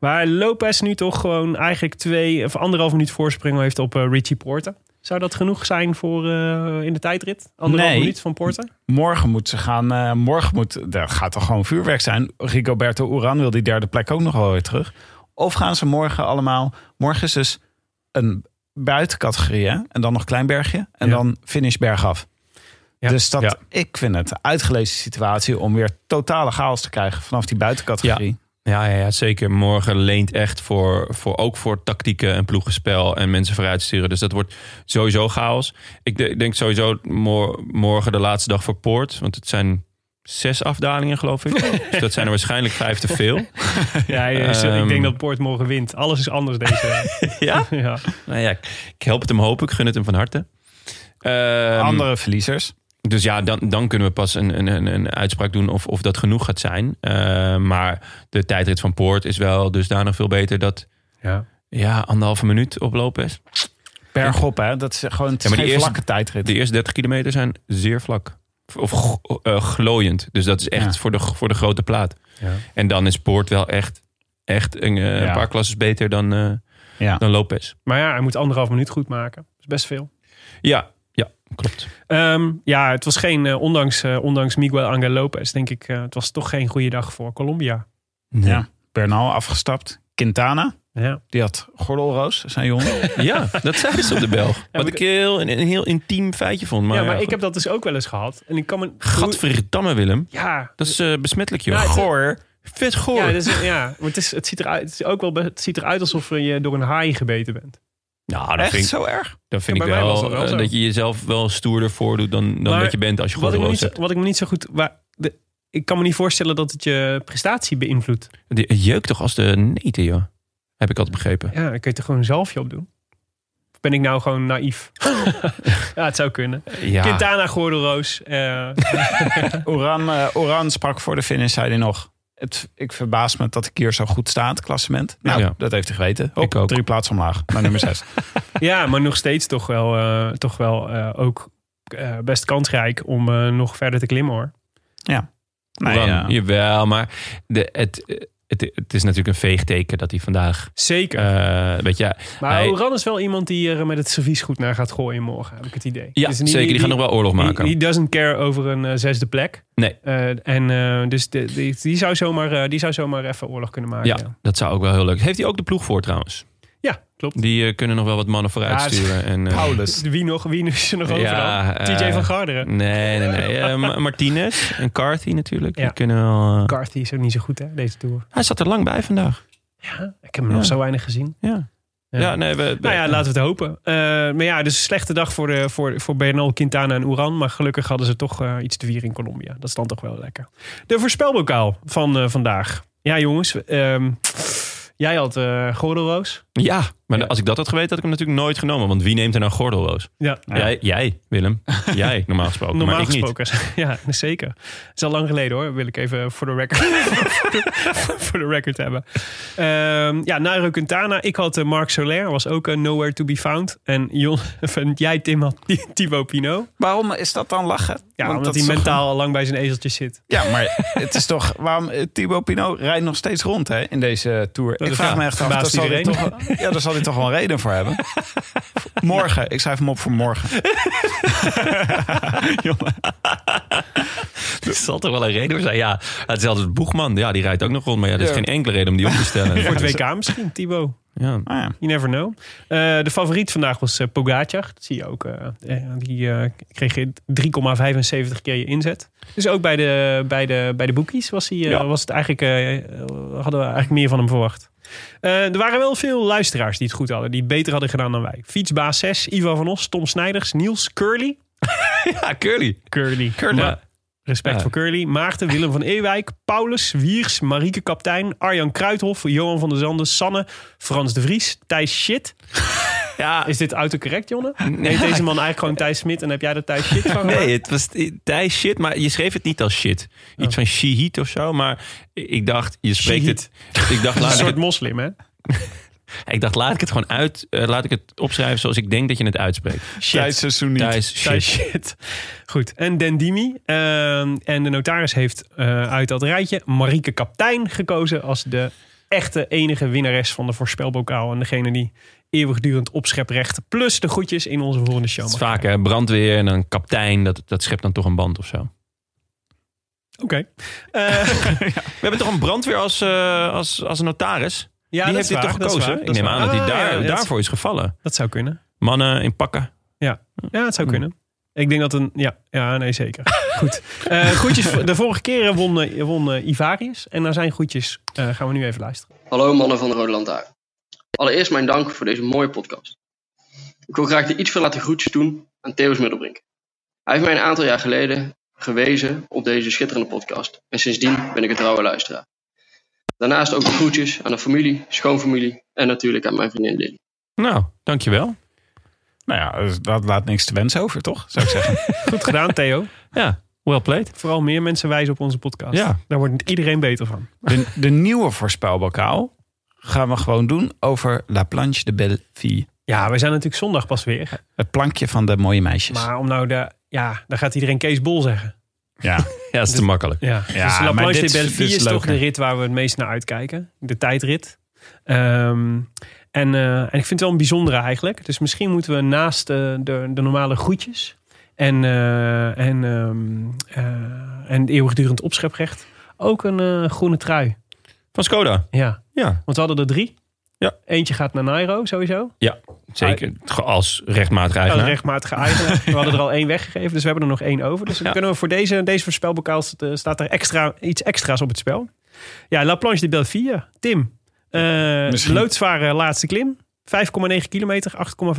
Waar Lopez nu toch gewoon eigenlijk twee of anderhalf minuut voorspringen heeft op eh, Richie Porte. Zou dat genoeg zijn voor eh, in de tijdrit? Anderhalf Nee. minuut van Porte? Morgen moet ze gaan. eh, morgen moet. Er gaat toch gewoon vuurwerk zijn. Rigoberto Uran wil die derde plek ook nog wel weer terug. Of gaan ze morgen allemaal. Morgen is dus een buitencategorie. Hè? En dan nog Kleinbergje. En Ja. dan finish bergaf. Ja. Dus dat, Ja. ik vind het een uitgelezen situatie om weer totale chaos te krijgen vanaf die buitencategorie. Ja, ja, ja, zeker. Morgen leent echt voor, voor, ook voor tactieken en ploegenspel en mensen vooruitsturen. Dus dat wordt sowieso chaos. Ik de- denk sowieso mor- morgen de laatste dag voor Poort. Want het zijn zes afdalingen, geloof ik. dus dat zijn er waarschijnlijk vijf te veel. Ja, ja, dus ik Ehm. denk dat Poort morgen wint. Alles is anders deze. ja? ja. Nou ja, ik, ik help het hem hopen. Ik gun het hem van harte. Ehm, Andere verliezers. Dus ja, dan, dan kunnen we pas een, een, een, een uitspraak doen of, of dat genoeg gaat zijn. Eh, maar de tijdrit van Poort is wel dusdanig veel beter dat... Ja. Ja, anderhalve minuut oplopen is. Bergop, hè? Dat is gewoon het is maar die geen eerste- vlakke tijdrit. De eerste 30 kilometer zijn zeer vlak. Of g- eh, glooiend. Dus dat is echt Ja. voor, de, voor de grote plaat. Ja. En dan is Poort wel echt, echt een, eh, Ja. een paar klasses beter dan, eh, Ja. dan Lopez. Maar ja, hij moet anderhalf minuut goed maken. Dat is best veel. Ja, ja klopt. Ehm, ja, het was geen, eh, ondanks, eh, ondanks Miguel Angel Lopez, denk ik, eh, het was toch geen goede dag voor Colombia. Ja. Bernal afgestapt. Quintana, Ja. die had gordelroos, zijn jongen. Ja, dat zei ze op de Belg. Wat ik heel, een, een heel intiem feitje vond. Maar, ja, maar ik heb dat dus ook wel eens gehad. En ik kan me... Gadverdamme, Willem. Ja, Dat is eh, besmettelijk, joh. Ja, het- goor. Vet goor. ja, dus, ja maar het, is, het, ziet eruit, het, is ook wel, be- het ziet eruit alsof je door een haai gebeten bent. nou, dat Echt vind ik, zo erg? dat vind Ja, ik bij mij was wel, dat wel eh, zo. dat je jezelf wel stoerder voordoet dan, dan Maar dat je bent als je Wat ik, me gordelroos niet, zo- hebt. wat ik me niet zo goed... Waar, de, ik kan me niet voorstellen dat het je prestatie beïnvloedt. Die- Het jeukt toch als de neten, joh. Heb ik altijd begrepen. Ja, dan kun je er gewoon een zalfje op doen. Of ben ik nou gewoon naïef? Eh, ja, het zou kunnen. Ja. Quintana, gordelroos. eh, Oran, eh, Oran sprak voor de finish, zei hij nog. Het, ik verbaas me dat ik hier zo goed sta, het klassement. Nou, Ja. dat heeft hij geweten. Hop, Ik ook. Drie plaatsen omlaag, naar nummer zes. Ja, maar nog steeds toch wel, eh, toch wel eh, ook eh, best kansrijk om eh, nog verder te klimmen hoor. Nee, Oran, ja. Jawel, maar de, het, het, het is natuurlijk een veegteken dat hij vandaag... Zeker. eh, weet je, maar hij- Oran is wel iemand die er met het servies goed naar gaat gooien morgen, heb ik het idee. ja, Dus zeker. Die, gaan nog wel oorlog die- maken. die doesn't care over een eh, zesde plek. Nee. Eh, en eh, dus de, die, die, zou zomaar, eh, die zou zomaar even oorlog kunnen maken. ja, dat zou ook wel heel leuk Heeft hij ook de ploeg voor trouwens? Ja, klopt. Die eh, kunnen nog wel wat mannen vooruit Ja, het- sturen. En, eh, Paulus. Wie nog? Wie is er nog Ja, overal? TJ eh, van Garderen. Nee, nee, nee. Eh, Ma- Martinez en Carthy natuurlijk. Ja. Die kunnen wel, eh, Carthy is ook niet zo goed hè, deze tour. Hij zat er lang bij vandaag. Ik heb hem nog zo weinig gezien. Ja, ja. nee, we, we- Nou ja, laten we het hopen. Eh, maar ja, dus een slechte dag voor, de, voor, voor Bernal, Quintana en Oeran. Maar gelukkig hadden ze toch eh, iets te vieren in Colombia. Dat is dan toch wel lekker. De voorspelbokaal van eh, vandaag. Ja, jongens. ehm, jij had eh gordelroos. ja, maar Ja. als ik dat had geweten, had ik hem natuurlijk nooit genomen. Want wie neemt er nou gordelloos? Ja, Jij, jij, Willem. Jij, normaal gesproken. normaal maar ik niet. gesproken. Ja, zeker. Het is al lang geleden hoor. Wil ik even voor de record, voor de- voor de record hebben. Ehm, ja, Nairo Quintana. Ik had eh, Marc Soler. Was ook een nowhere to be found. En Jon, van, jij, Tim, had Thibaut Pinot. Waarom is dat dan lachen? Ja, Want omdat dat hij is toch- mentaal al lang bij zijn ezeltjes zit. Ja, maar het is toch... Waarom, eh, Thibaut Pinot rijdt nog steeds rond hè, in deze Tour. Dat ik is- vraag ja, me echt af, verbaast daar zal, hij toch, iedereen. wel- ja, daar zal hij toch wel een reden voor hebben. morgen, ik schrijf hem op voor morgen. Er zal toch wel een reden voor zijn. Ja, het is altijd Boegman. Ja, die rijdt ook nog rond. Maar ja, er is geen enkele reden om die op te stellen. Voor dus- het WK misschien, Thibaut. Ja. Ah, ja. You never know. Eh, de favoriet vandaag was eh, Pogacar. Dat zie je ook. eh, eh, die eh, kreeg 3,75 keer je inzet. Dus ook bij de, bij de, bij de boekies was, hij, eh, Ja. was het eigenlijk, eh, eh, hadden we eigenlijk meer van hem verwacht. Eh, er waren wel veel luisteraars die het goed hadden. Die het beter hadden gedaan dan wij. Fietsbaas 6, Ivan van Os, Tom Snijders, Niels, Curly. ja, Curly. Curly. Curly. Maar- Respect Ja. voor Curly. Maarten, Willem van Ewijk, Paulus, Wiers, Marieke Kaptein, Arjan Kruithof, Johan van der Zanden, Sanne, Frans de Vries, Thijs Shit. Ja, Is dit autocorrect, Jonne? Heet deze man eigenlijk gewoon Thijs Smit en heb jij er Thijs Shit van gemaakt? Nee, het was Thijs shit, maar je schreef het niet als shit. Oh. Iets van shihit of zo, maar ik dacht, je spreekt het. Ik dacht, Een laat ik soort het, moslim, hè? Ik dacht, laat ik het gewoon uit. eh, laat ik het opschrijven zoals ik denk dat je het uitspreekt. Thijs Sassouni. Thijs, Shit. shit. shit. Goed. En Dendimi. Ehm en de notaris heeft eh, uit dat rijtje Marieke Kapteijn gekozen als de echte enige winnares van de voorspelbokaal. En degene die eeuwigdurend opscheprecht plus de goedjes in onze volgende show Het is mag. vaak hè, brandweer en een kaptein. Dat, dat schept dan toch een band of zo. Oké. Eh, We hebben toch een brandweer als, eh, als, als notaris? ja, die dat heeft is dit waar, toch dat is gekozen? waar, Ik dat is neem waar. aan dat hij Ah, daar, ja, dat- daarvoor is gevallen. Dat zou kunnen. Mannen in pakken. Ja, het Hmm. zou kunnen. Ik denk dat een... Ja, ja nee, zeker. Goed. Eh groetjes. De vorige keer won, eh, won eh, Ivarius. En naar zijn groetjes eh, gaan we nu even luisteren. Hallo mannen van de Rode Lantaarn. Allereerst mijn dank voor deze mooie podcast. Ik wil graag de iets verlaten groetjes doen aan Theo's Middelbrink. Hij heeft mij een aantal jaar geleden gewezen op deze schitterende podcast en sindsdien ben ik een trouwe luisteraar. Daarnaast ook de groetjes aan de familie, schoonfamilie en natuurlijk aan mijn vriendin Lily. Nou, dankjewel. Nou ja, dus dat laat niks te wensen over, toch? Zou ik zeggen. Goed gedaan, Theo. Ja, well played. Vooral meer mensen wijzen op onze podcast. Ja. Daar wordt iedereen beter van. De, de nieuwe voorspelbokaal gaan we gewoon doen over La Planche de Belleville. Ja, we zijn natuurlijk zondag pas weer. Het plankje van de mooie dus- meisjes. Maar om nou de... Ja, dan gaat iedereen Kees Bol zeggen. Ja, Ja, dat is te makkelijk. Ja, dus La maar Planche dit de is- Belleville dit is, is toch leuker. de rit waar we het meest naar uitkijken. De tijdrit. Ehm, en, eh, en ik vind het wel een bijzondere eigenlijk. Dus misschien moeten we naast eh, de, de normale groetjes... en, eh, en, ehm, eh, en het eeuwigdurend opscheprecht... ook een eh, groene trui. Van Skoda. Ja, Ja, want we hadden er drie. Ja. Eentje gaat naar Nairo sowieso. ja zeker. Ge- Als rechtmatig Een eigenaar. rechtmatige eigenaar. Oh, We hadden er al één weggegeven, dus we hebben er nog één over. Dus dan Ja. kunnen we voor deze, deze voorspelbokaal st- eh, staat er extra, iets extra's op het spel. Ja, La Planche de Belleville. Tim, eh Misschien. loodzware laatste klim. 5,9 kilometer,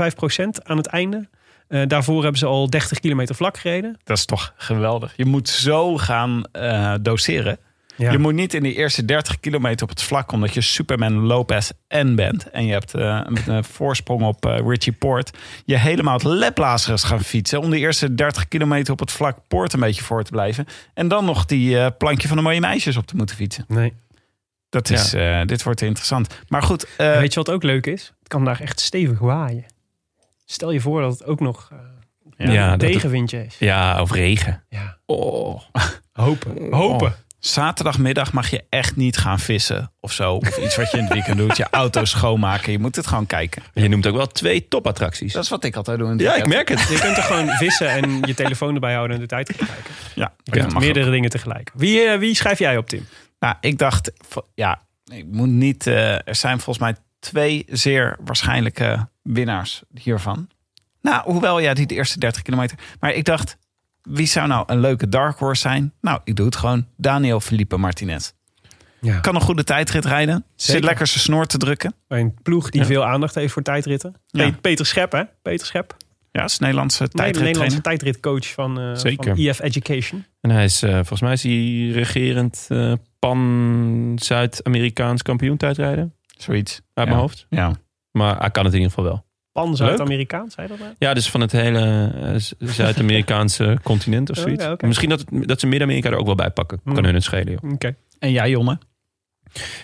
8,5 procent aan het einde. Eh, daarvoor hebben ze al 30 kilometer vlak gereden. Dat is toch geweldig. Je moet zo gaan eh, doseren. Ja. Je moet niet in die eerste 30 kilometer op het vlak, omdat je Superman Lopez en bent. En je hebt eh, een, eh, voorsprong op eh, Richie Poort. Je helemaal het leplazer is gaan fietsen. Om die eerste 30 kilometer op het vlak Poort een beetje voor te blijven. En dan nog die eh, plankje van de mooie meisjes op te moeten fietsen. Nee. Dat is, eh, dit wordt interessant. Maar goed, eh, Weet je wat ook leuk is? Het kan daar echt stevig waaien. Stel je voor dat het ook nog eh, Ja, een dat het- tegenwindje is. ja, of regen. Ja. Oh. Hopen. Hopen. zaterdagmiddag mag je echt niet gaan vissen of zo. Of iets wat je in het weekend doet. Je auto schoonmaken. Je moet het gewoon kijken. Je noemt ook wel twee topattracties. Dat is wat ik altijd doe. In het Ja, ik weekend. merk het. Je kunt er gewoon vissen en je telefoon erbij houden en de tijd kijken. Ja, Je dat doet mag meerdere dingen tegelijk. Wie, eh, wie schrijf jij op, Tim? Nou, ik dacht, v- ja, ik moet niet. eh, er zijn volgens mij twee zeer waarschijnlijke winnaars hiervan. Nou, hoewel ja, die de eerste 30 kilometer. Maar ik dacht, wie zou nou een leuke dark horse zijn? Nou, ik doe het gewoon. Daniel Felipe Martinez. Ja. Kan een goede tijdrit rijden. Zit Zeker. lekker zijn snor te drukken. Bij een ploeg die veel aandacht heeft voor tijdritten. Ja. Pe- Peter Schep, hè? Peter Schep. Ja, is een Nederlandse Tijdrit Nederlandse tijdrittrainer. tijdritcoach van, eh, Zeker. van EF Education. En hij is, eh, volgens mij is hij regerend eh, pan-Zuid-Amerikaans kampioen tijdrijden. Zoiets. Uit Ja. mijn hoofd. Ja. Maar hij kan het in ieder geval wel. Pan-Zuid-Amerikaans, zei dat nou? Ja, dus van het hele eh, Z- Zuid-Amerikaanse continent of Oh, zoiets. ja, oké. Misschien dat, het- dat ze Midden-Amerika er ook wel bij pakken. Kan Hmm. hun het schelen, joh. Oké. En jij, Jonne?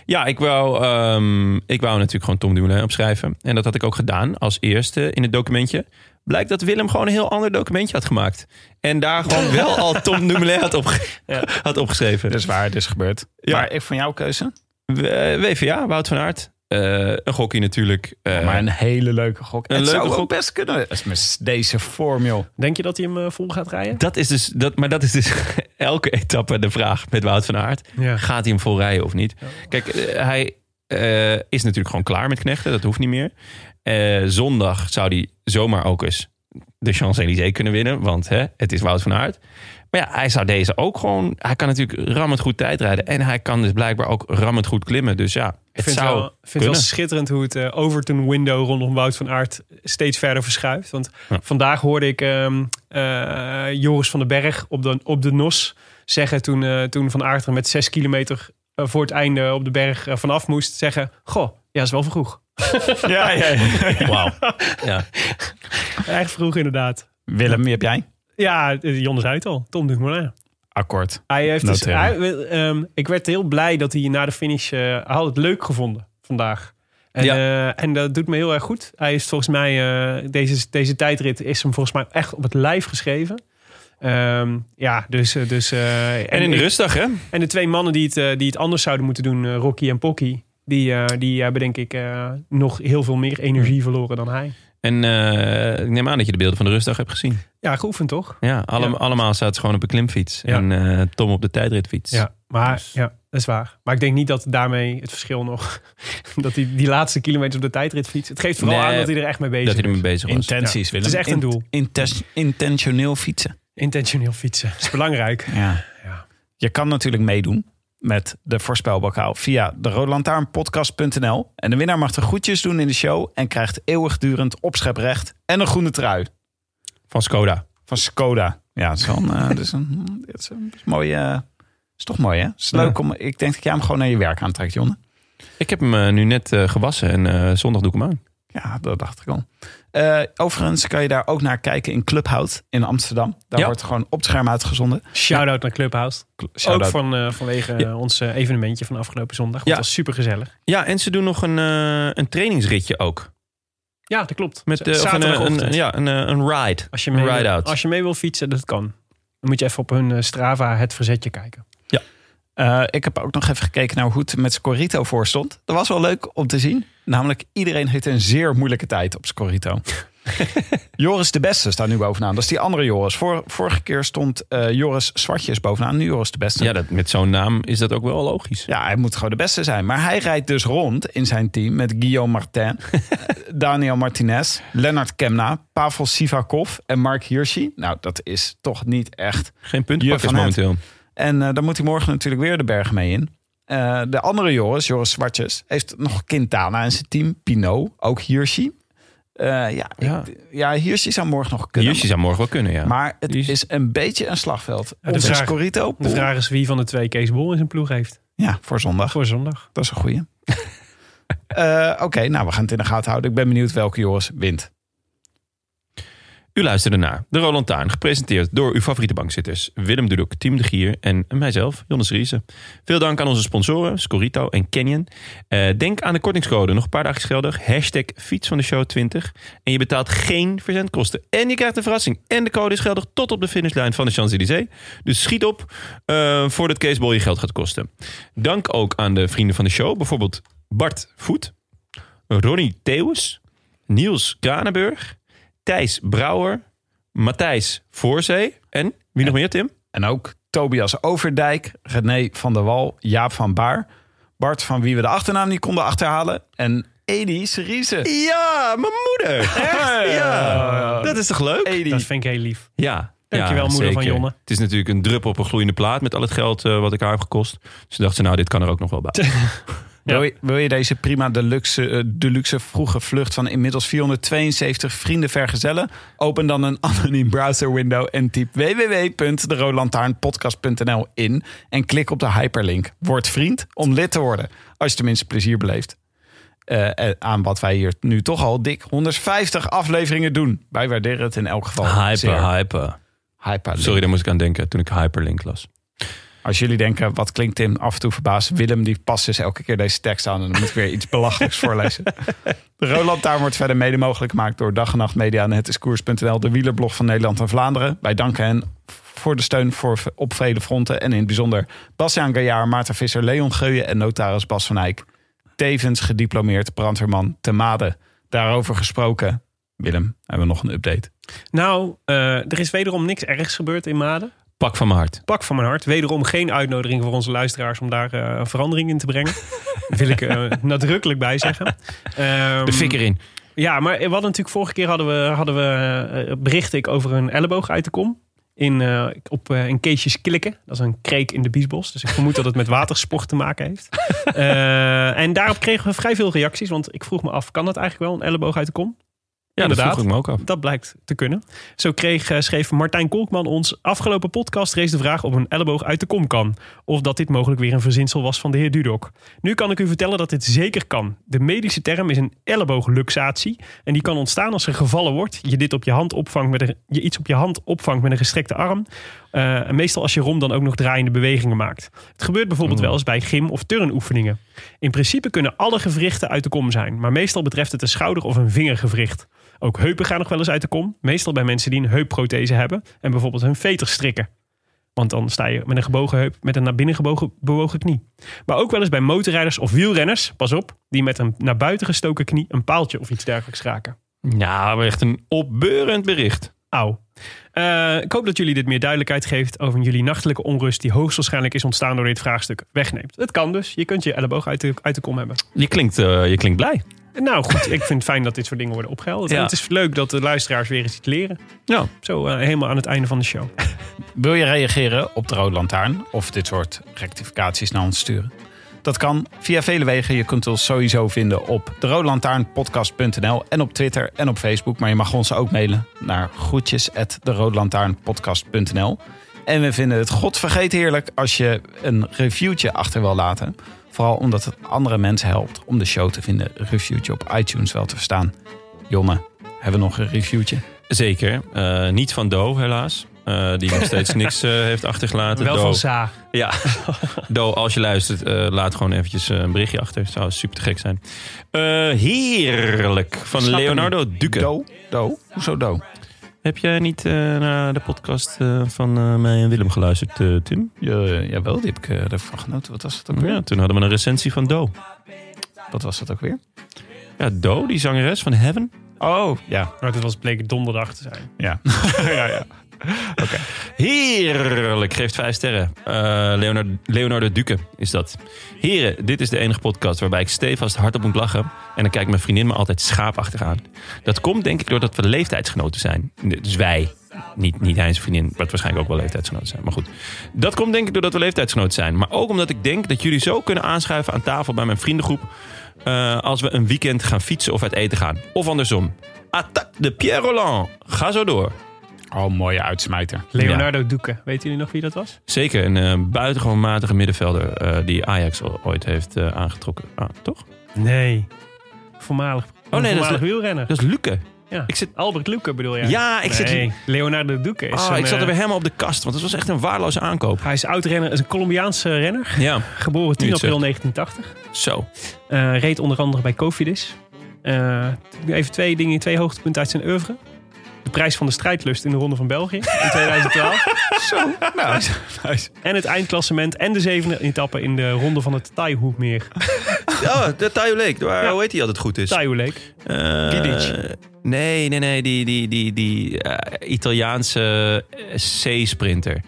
Ja, ik wou, ehm, ik wou natuurlijk gewoon Tom Dumoulin opschrijven. En dat had ik ook gedaan als eerste in het documentje. Blijkt dat Willem gewoon een heel ander documentje had gemaakt. En daar gewoon wel al Tom Dumoulin had, opge- had opgeschreven. Dat is waar, dit is gebeurd. Ja. Maar ik van jouw keuze. W- WVA, Wout van Aert. Eh, een gokkie natuurlijk. Eh, maar een hele leuke gok. een het leuke zou ook gok. best kunnen. Dat is met deze vorm, joh. Denk je dat hij hem eh, vol gaat rijden? dat is dus, dat, maar dat is dus elke etappe de vraag met Wout van Aert. Ja. Gaat hij hem vol rijden of niet? Kijk, eh, hij eh, is natuurlijk gewoon klaar met knechten. Dat hoeft niet meer. Eh, zondag zou hij zomaar ook eens de Champs-Élysées kunnen winnen. Want hè, het is Wout van Aert. Maar ja, hij zou deze ook gewoon... Hij kan natuurlijk rammend goed tijdrijden. En hij kan dus blijkbaar ook rammend goed klimmen. Dus ja, Ik het vind, zou wel, ik vind het wel kunnen. schitterend hoe het eh, Overton window rondom Wout van Aert steeds verder verschuift. Want Ja. vandaag hoorde ik ehm, eh, Joris van den Berg op de, op de NOS zeggen toen, eh, toen Van Aert er met zes kilometer eh, voor het einde op de berg eh, vanaf moest zeggen. Goh, ja, is wel vroeg. Ja, ja, Wauw. Ja. Echt vroeg inderdaad. Willem, wie heb jij? Ja, eh, Jon zei het al. Tom Dumoulin. Akkoord. Hij heeft dus, Noteren. hij- ehm, ik werd heel blij dat hij na de finish eh, hij had het leuk gevonden vandaag. En, Ja. eh, en dat doet me heel erg goed. Hij is volgens mij, eh, deze, deze tijdrit is hem volgens mij echt op het lijf geschreven. Ehm, ja, dus... eh, dus eh, En in de ik- rustdag, hè? En de twee mannen die het, eh, die het anders zouden moeten doen, eh, Rocky en Pocky, die, eh, die hebben denk ik eh, nog heel veel meer energie verloren dan hij. En eh, ik neem aan dat je de beelden van de rustdag hebt gezien. Ja, geoefend toch? Ja, alle- Ja. allemaal zaten ze gewoon op een klimfiets. Ja. En eh, Tom op de tijdritfiets. Ja, maar dus- ja, dat is waar. Maar ik denk niet dat daarmee het verschil nog, dat die, die laatste kilometer op de tijdrit fietst. Het geeft vooral Nee, aan dat hij er echt mee bezig Dat is. hij ermee bezig was. Intenties, Het is echt een doel. Intes- intentioneel fietsen. Intentioneel fietsen. Dat is belangrijk. Ja. Ja. Je kan natuurlijk meedoen met de voorspelbokaal via de roodlantaarnpodcast.nl. En de winnaar mag de groetjes doen in de show en krijgt eeuwigdurend opscheprecht en een groene trui Van Skoda. van Skoda. Ja, dat is, wel een, eh, dat is, een, dat is een mooie... eh, is toch mooi, hè? Is leuk om... Ik denk dat jij hem gewoon naar je werk aantrekt, Jonne. Ik heb hem eh, nu net eh, gewassen en eh, zondag doe ik hem aan. Ja, dat dacht ik al. Eh, overigens kan je daar ook naar kijken in Clubhout in Amsterdam. Daar Ja. wordt gewoon op het scherm uitgezonden. Shout-out naar Clubhouse. Shout-out. Ook van, eh, vanwege eh, ons eh, evenementje van afgelopen zondag. Want Ja. Dat was super gezellig. Ja, en ze doen nog een, eh, een trainingsritje ook. Ja, dat klopt. Met, eh, of een, eh, Zaterdagochtend. een, ja, een, eh, een ride. Als je, Een mee wil, ride-out. als je mee wil fietsen, dat kan. Dan moet je even op hun eh, Strava het verzetje kijken. Eh, ik heb ook nog even gekeken naar hoe het met Scorito voor stond. Dat was wel leuk om te zien. Namelijk, iedereen heeft een zeer moeilijke tijd op Scorito. Joris de Beste staat nu bovenaan. Dat is die andere Joris. Vor- vorige keer stond eh, Joris Zwartjes bovenaan. Nu Joris de Beste. Ja, dat, met zo'n naam is dat ook wel logisch. Ja, hij moet gewoon de beste zijn. Maar hij rijdt dus rond in zijn team met Guillaume Martin, Daniel Martinez, Lennart Kemna, Pavel Sivakov en Mark Hirschi. Nou, dat is toch niet echt. Geen Juf puntenpakkers van Hout. momenteel. En eh, dan moet hij morgen natuurlijk weer de berg mee in. Eh, de andere Joris, Joris Zwartjes, heeft nog Quintana in zijn team. Pinot, ook Hirschi. Eh, ja, Ja. ja. ja, Hirschi zou morgen nog kunnen. Jusje zou morgen wel kunnen, ja. Maar het Hirschi- is een beetje een slagveld. de Onze vraag- Scorito. De vraag is wie van de twee Kees Bol in zijn ploeg heeft. Ja, voor zondag. Voor zondag. Dat is een goeie. Eh, Oké, nou, we gaan het in de gaten houden. Ik ben benieuwd welke Joris wint. U luisterde naar De Roland Tuin, gepresenteerd door uw favoriete bankzitters Willem Dudok, Tim de Gier en mijzelf, Jonas Riese. Veel dank aan onze sponsoren, Scorito en Canyon. Eh, denk aan de kortingscode, nog een paar dagjes geldig, hashtag fiets van de show 20. En je betaalt geen verzendkosten. En je krijgt een verrassing. En de code is geldig tot op de finishlijn van de Champs-Élysées. Dus schiet op eh, voordat Caseball je geld gaat kosten. Dank ook aan de vrienden van de show, bijvoorbeeld Bart Voet, Ronnie Theus, Niels Kranenburg, Thijs Brouwer, Matthijs Voorzee en wie nog meer, Tim? En ook Tobias Overdijk, René van der Wal, Jaap van Baar, Bart van wie we de achternaam niet konden achterhalen en Edi Serize. Ja, mijn moeder. Ja, dat is toch leuk? Dat vind ik heel lief. Ja. Dankjewel, ja, moeder van zeker. Jonne. Het is natuurlijk een druppel op een gloeiende plaat met al het geld eh, wat ik haar heb gekost. Dus toen dacht ze, nou, dit kan er ook nog wel bij. Wil, je, wil je deze prima deluxe, eh, deluxe vroege vlucht van inmiddels 472 vrienden vergezellen? Open dan een anoniem browserwindow en typ www.deroodlantaarnpodcast.nl in en klik op de hyperlink. Word vriend om lid te worden, als je tenminste plezier beleeft. Eh, eh, aan wat wij hier nu toch al dik 150 afleveringen doen. Wij waarderen het in elk geval. zeer. Hyper, hyper. Hyperlink. Sorry, daar moest ik aan denken toen ik hyperlink las. Als jullie denken, wat klinkt Tim af en toe verbaasd? Willem die past dus elke keer deze tekst aan en dan moet ik weer iets belachelijks voorlezen. De Roland Taarn wordt verder mede mogelijk gemaakt door Dag en Nacht Media en Het is Koers.nl, de wielerblog van Nederland en Vlaanderen. Wij danken hen voor de steun voor, op vele fronten en in het bijzonder Bastiaan Gajaar, Maarten Visser, Leon Geuyen en notaris Bas van Eyck. Tevens gediplomeerd brandweerman te Made. Daarover gesproken, Willem, hebben we nog een update. Nou, eh, er is wederom niks ergs gebeurd in Maden. Pak van mijn hart. Pak van mijn hart. Wederom geen uitnodiging voor onze luisteraars om daar eh, een verandering in te brengen. Daar wil ik eh, nadrukkelijk bij zeggen. Ehm, De fik erin. Ja, maar we hadden natuurlijk vorige keer hadden we, hadden we eh, berichtte ik over een elleboog uit de kom. In, eh, op, eh, in Keesjes Klikken. Dat is een kreek in de Biesbos. Dus ik vermoed dat het met watersport te maken heeft. Eh, en daarop kregen we vrij veel reacties. Want ik vroeg me af, kan dat eigenlijk wel een elleboog uit de kom? Ja, dat Inderdaad. vroeg ik me ook af. Dat blijkt te kunnen. Zo kreeg, eh, schreef Martijn Kolkman ons afgelopen podcast rees de vraag of een elleboog uit de kom kan. Of dat dit mogelijk weer een verzinsel was van de heer Dudok. Nu kan ik u vertellen dat dit zeker kan. De medische term is een elleboogluxatie. En die kan ontstaan als er gevallen wordt, je dit op je hand opvangt met een, je iets op je hand opvangt met een gestrekte arm. Eh, en meestal als je rom dan ook nog draaiende bewegingen maakt. Het gebeurt bijvoorbeeld wel eens bij gym- of turnoefeningen. In principe kunnen alle gewrichten uit de kom zijn, maar meestal betreft het een schouder- of een vingergewricht. Ook heupen gaan nog wel eens uit de kom, meestal bij mensen die een heupprothese hebben en bijvoorbeeld hun veter strikken. Want dan sta je met een gebogen heup, met een naar binnen gebogen bewogen knie. Maar ook wel eens bij motorrijders of wielrenners, pas op, die met een naar buiten gestoken knie een paaltje of iets dergelijks raken. Nou, echt een opbeurend bericht. Auw. Eh, ik hoop dat jullie dit meer duidelijkheid geeft over jullie nachtelijke onrust die hoogstwaarschijnlijk is ontstaan door dit vraagstuk wegneemt. Het kan dus, je kunt je elleboog uit de, uit de kom hebben. Je klinkt, eh, je klinkt blij. Nou goed, ik vind het fijn dat dit soort dingen worden opgehelderd. Ja. En het is leuk dat de luisteraars weer eens iets leren. Ja. Zo eh, helemaal aan het einde van de show. Wil je reageren op de Rode Lantaarn of dit soort rectificaties naar ons sturen? Dat kan via vele wegen. Je kunt ons sowieso vinden op deroodlantaarnpodcast.nl en op Twitter en op Facebook. Maar je mag ons ook mailen naar groetjes at deroodlantaarnpodcast.nl. En we vinden het godvergeet heerlijk als je een reviewtje achter wil laten. Vooral omdat het andere mensen helpt om de show te vinden. Een reviewtje op iTunes wel te verstaan. Jonne, hebben we nog een reviewtje? Zeker. Eh, niet van Do, helaas. Eh, die nog steeds niks eh, heeft achtergelaten. Wel Do, van Za. Ja, Do, als je luistert, eh, laat gewoon eventjes eh, een berichtje achter. Zou super te gek zijn. Eh, heerlijk. Van Snap hem Leonardo Duque. Do? Do? Hoezo do? Heb jij niet eh, naar de podcast eh, van eh, mij en Willem geluisterd, eh, Tim? Ja, jawel, die heb ik eh, ervan genoten. Wat was dat ook weer? Ja, toen hadden we een recensie van Do. Wat was dat ook weer? Ja, Do, die zangeres van Heaven. Oh, ja. Maar het Nou, was bleek donderdag te zijn. Ja. ja, ja. Heerlijk, geeft vijf sterren. Eh, Leonardo, Leonardo Duque is dat. Heren, dit is de enige podcast waarbij ik stevast hard op moet lachen. En dan kijkt mijn vriendin me altijd schaapachtig aan. Dat komt denk ik doordat we leeftijdsgenoten zijn. Dus wij. Niet, niet hij en zijn vriendin, wat waarschijnlijk ook wel leeftijdsgenoten zijn. Maar goed, dat komt denk ik doordat we leeftijdsgenoten zijn. Maar ook omdat ik denk dat jullie zo kunnen aanschuiven aan tafel bij mijn vriendengroep. eh, als we een weekend gaan fietsen of uit eten gaan. Of andersom. Attaque de Pierre Roland. Ga zo door. Oh, mooie uitsmijter. Leonardo Duque. Weten jullie nog wie dat was? Zeker, een eh, buitengewoon matige middenvelder eh, die Ajax o- ooit heeft eh, aangetrokken. Ah, toch? Nee. Voormalig. Oh, dat is voormalig Le- wielrenner. Dat is Luke. Ja. Ik zit- Albert Luke bedoel jij? Ja, ik zit- Nee, Leonardo Duque is Ah, een, ik zat er eh, weer helemaal op de kast, want het was echt een waardeloze aankoop. Hij is oud-renner, is een Colombiaanse renner. Ja, Geboren 10 Nu het april 1980. zo. Eh, reed onder andere bij Cofidis. Eh, even twee dingen, twee hoogtepunten uit zijn oeuvre. De prijs van de strijdlust in de Ronde van België in 2012. Zo, nou, nice. en het eindklassement en de zevende etappe in de Ronde van het Taihoekmeer. Oh, de Tayo Lake, waar, hoe heet hij altijd goed is? Taihu Lake. Eh, Kidic. Nee, nee, nee, die, die, die, die eh, Italiaanse eh, C-sprinter.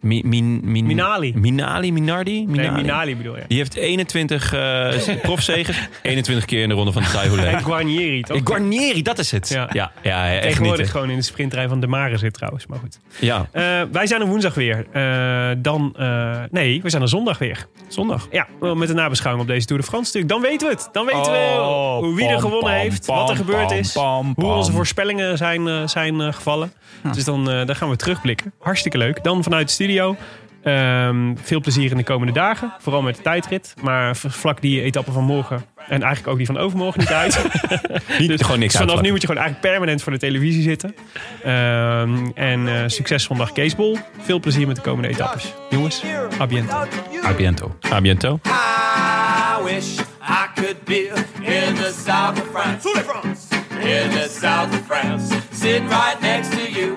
Mi- min, min- Minali. Minali, Minardi? Nee, Minali bedoel je. Die heeft 21 eh profzegers, 21 keer in de ronde van de Tayo Lake. En Guarnieri, toch? Eh, Guarnieri, dat is het. Ja. Ja, ja, ja, echt niet. eh. Tegenwoordig hè. gewoon in de sprintrij van De Mare zit trouwens, maar goed. Ja, Eh, wij zijn er woensdag weer. Eh, dan, eh, nee, we zijn er zondag weer. zondag. Ja, wel met een nabeschouwing op deze Tour de France natuurlijk. Dan weten we het. Dan weten we hoe wie er Oh, pam, gewonnen pam, heeft, pam, wat er gebeurd pam, is, pam, hoe pam. onze voorspellingen zijn, eh, zijn eh, gevallen. Dus dan, eh, daar gaan we terugblikken. Hartstikke leuk. Dan vanuit de studio. Ehm, veel plezier in de komende dagen. Vooral met de tijdrit. Maar v- vlak die etappe van morgen. En eigenlijk ook die van overmorgen niet uit. Niet, gewoon niks Dus vanaf uitvlakken. nu moet je gewoon eigenlijk permanent voor de televisie zitten. Ehm, en eh, succes zondag Keesbol. Veel plezier met de komende etappes. Jongens, à bientôt. Abiento. A biento. I wish I could be in the south of France. In the south of France. Sitting right next to you.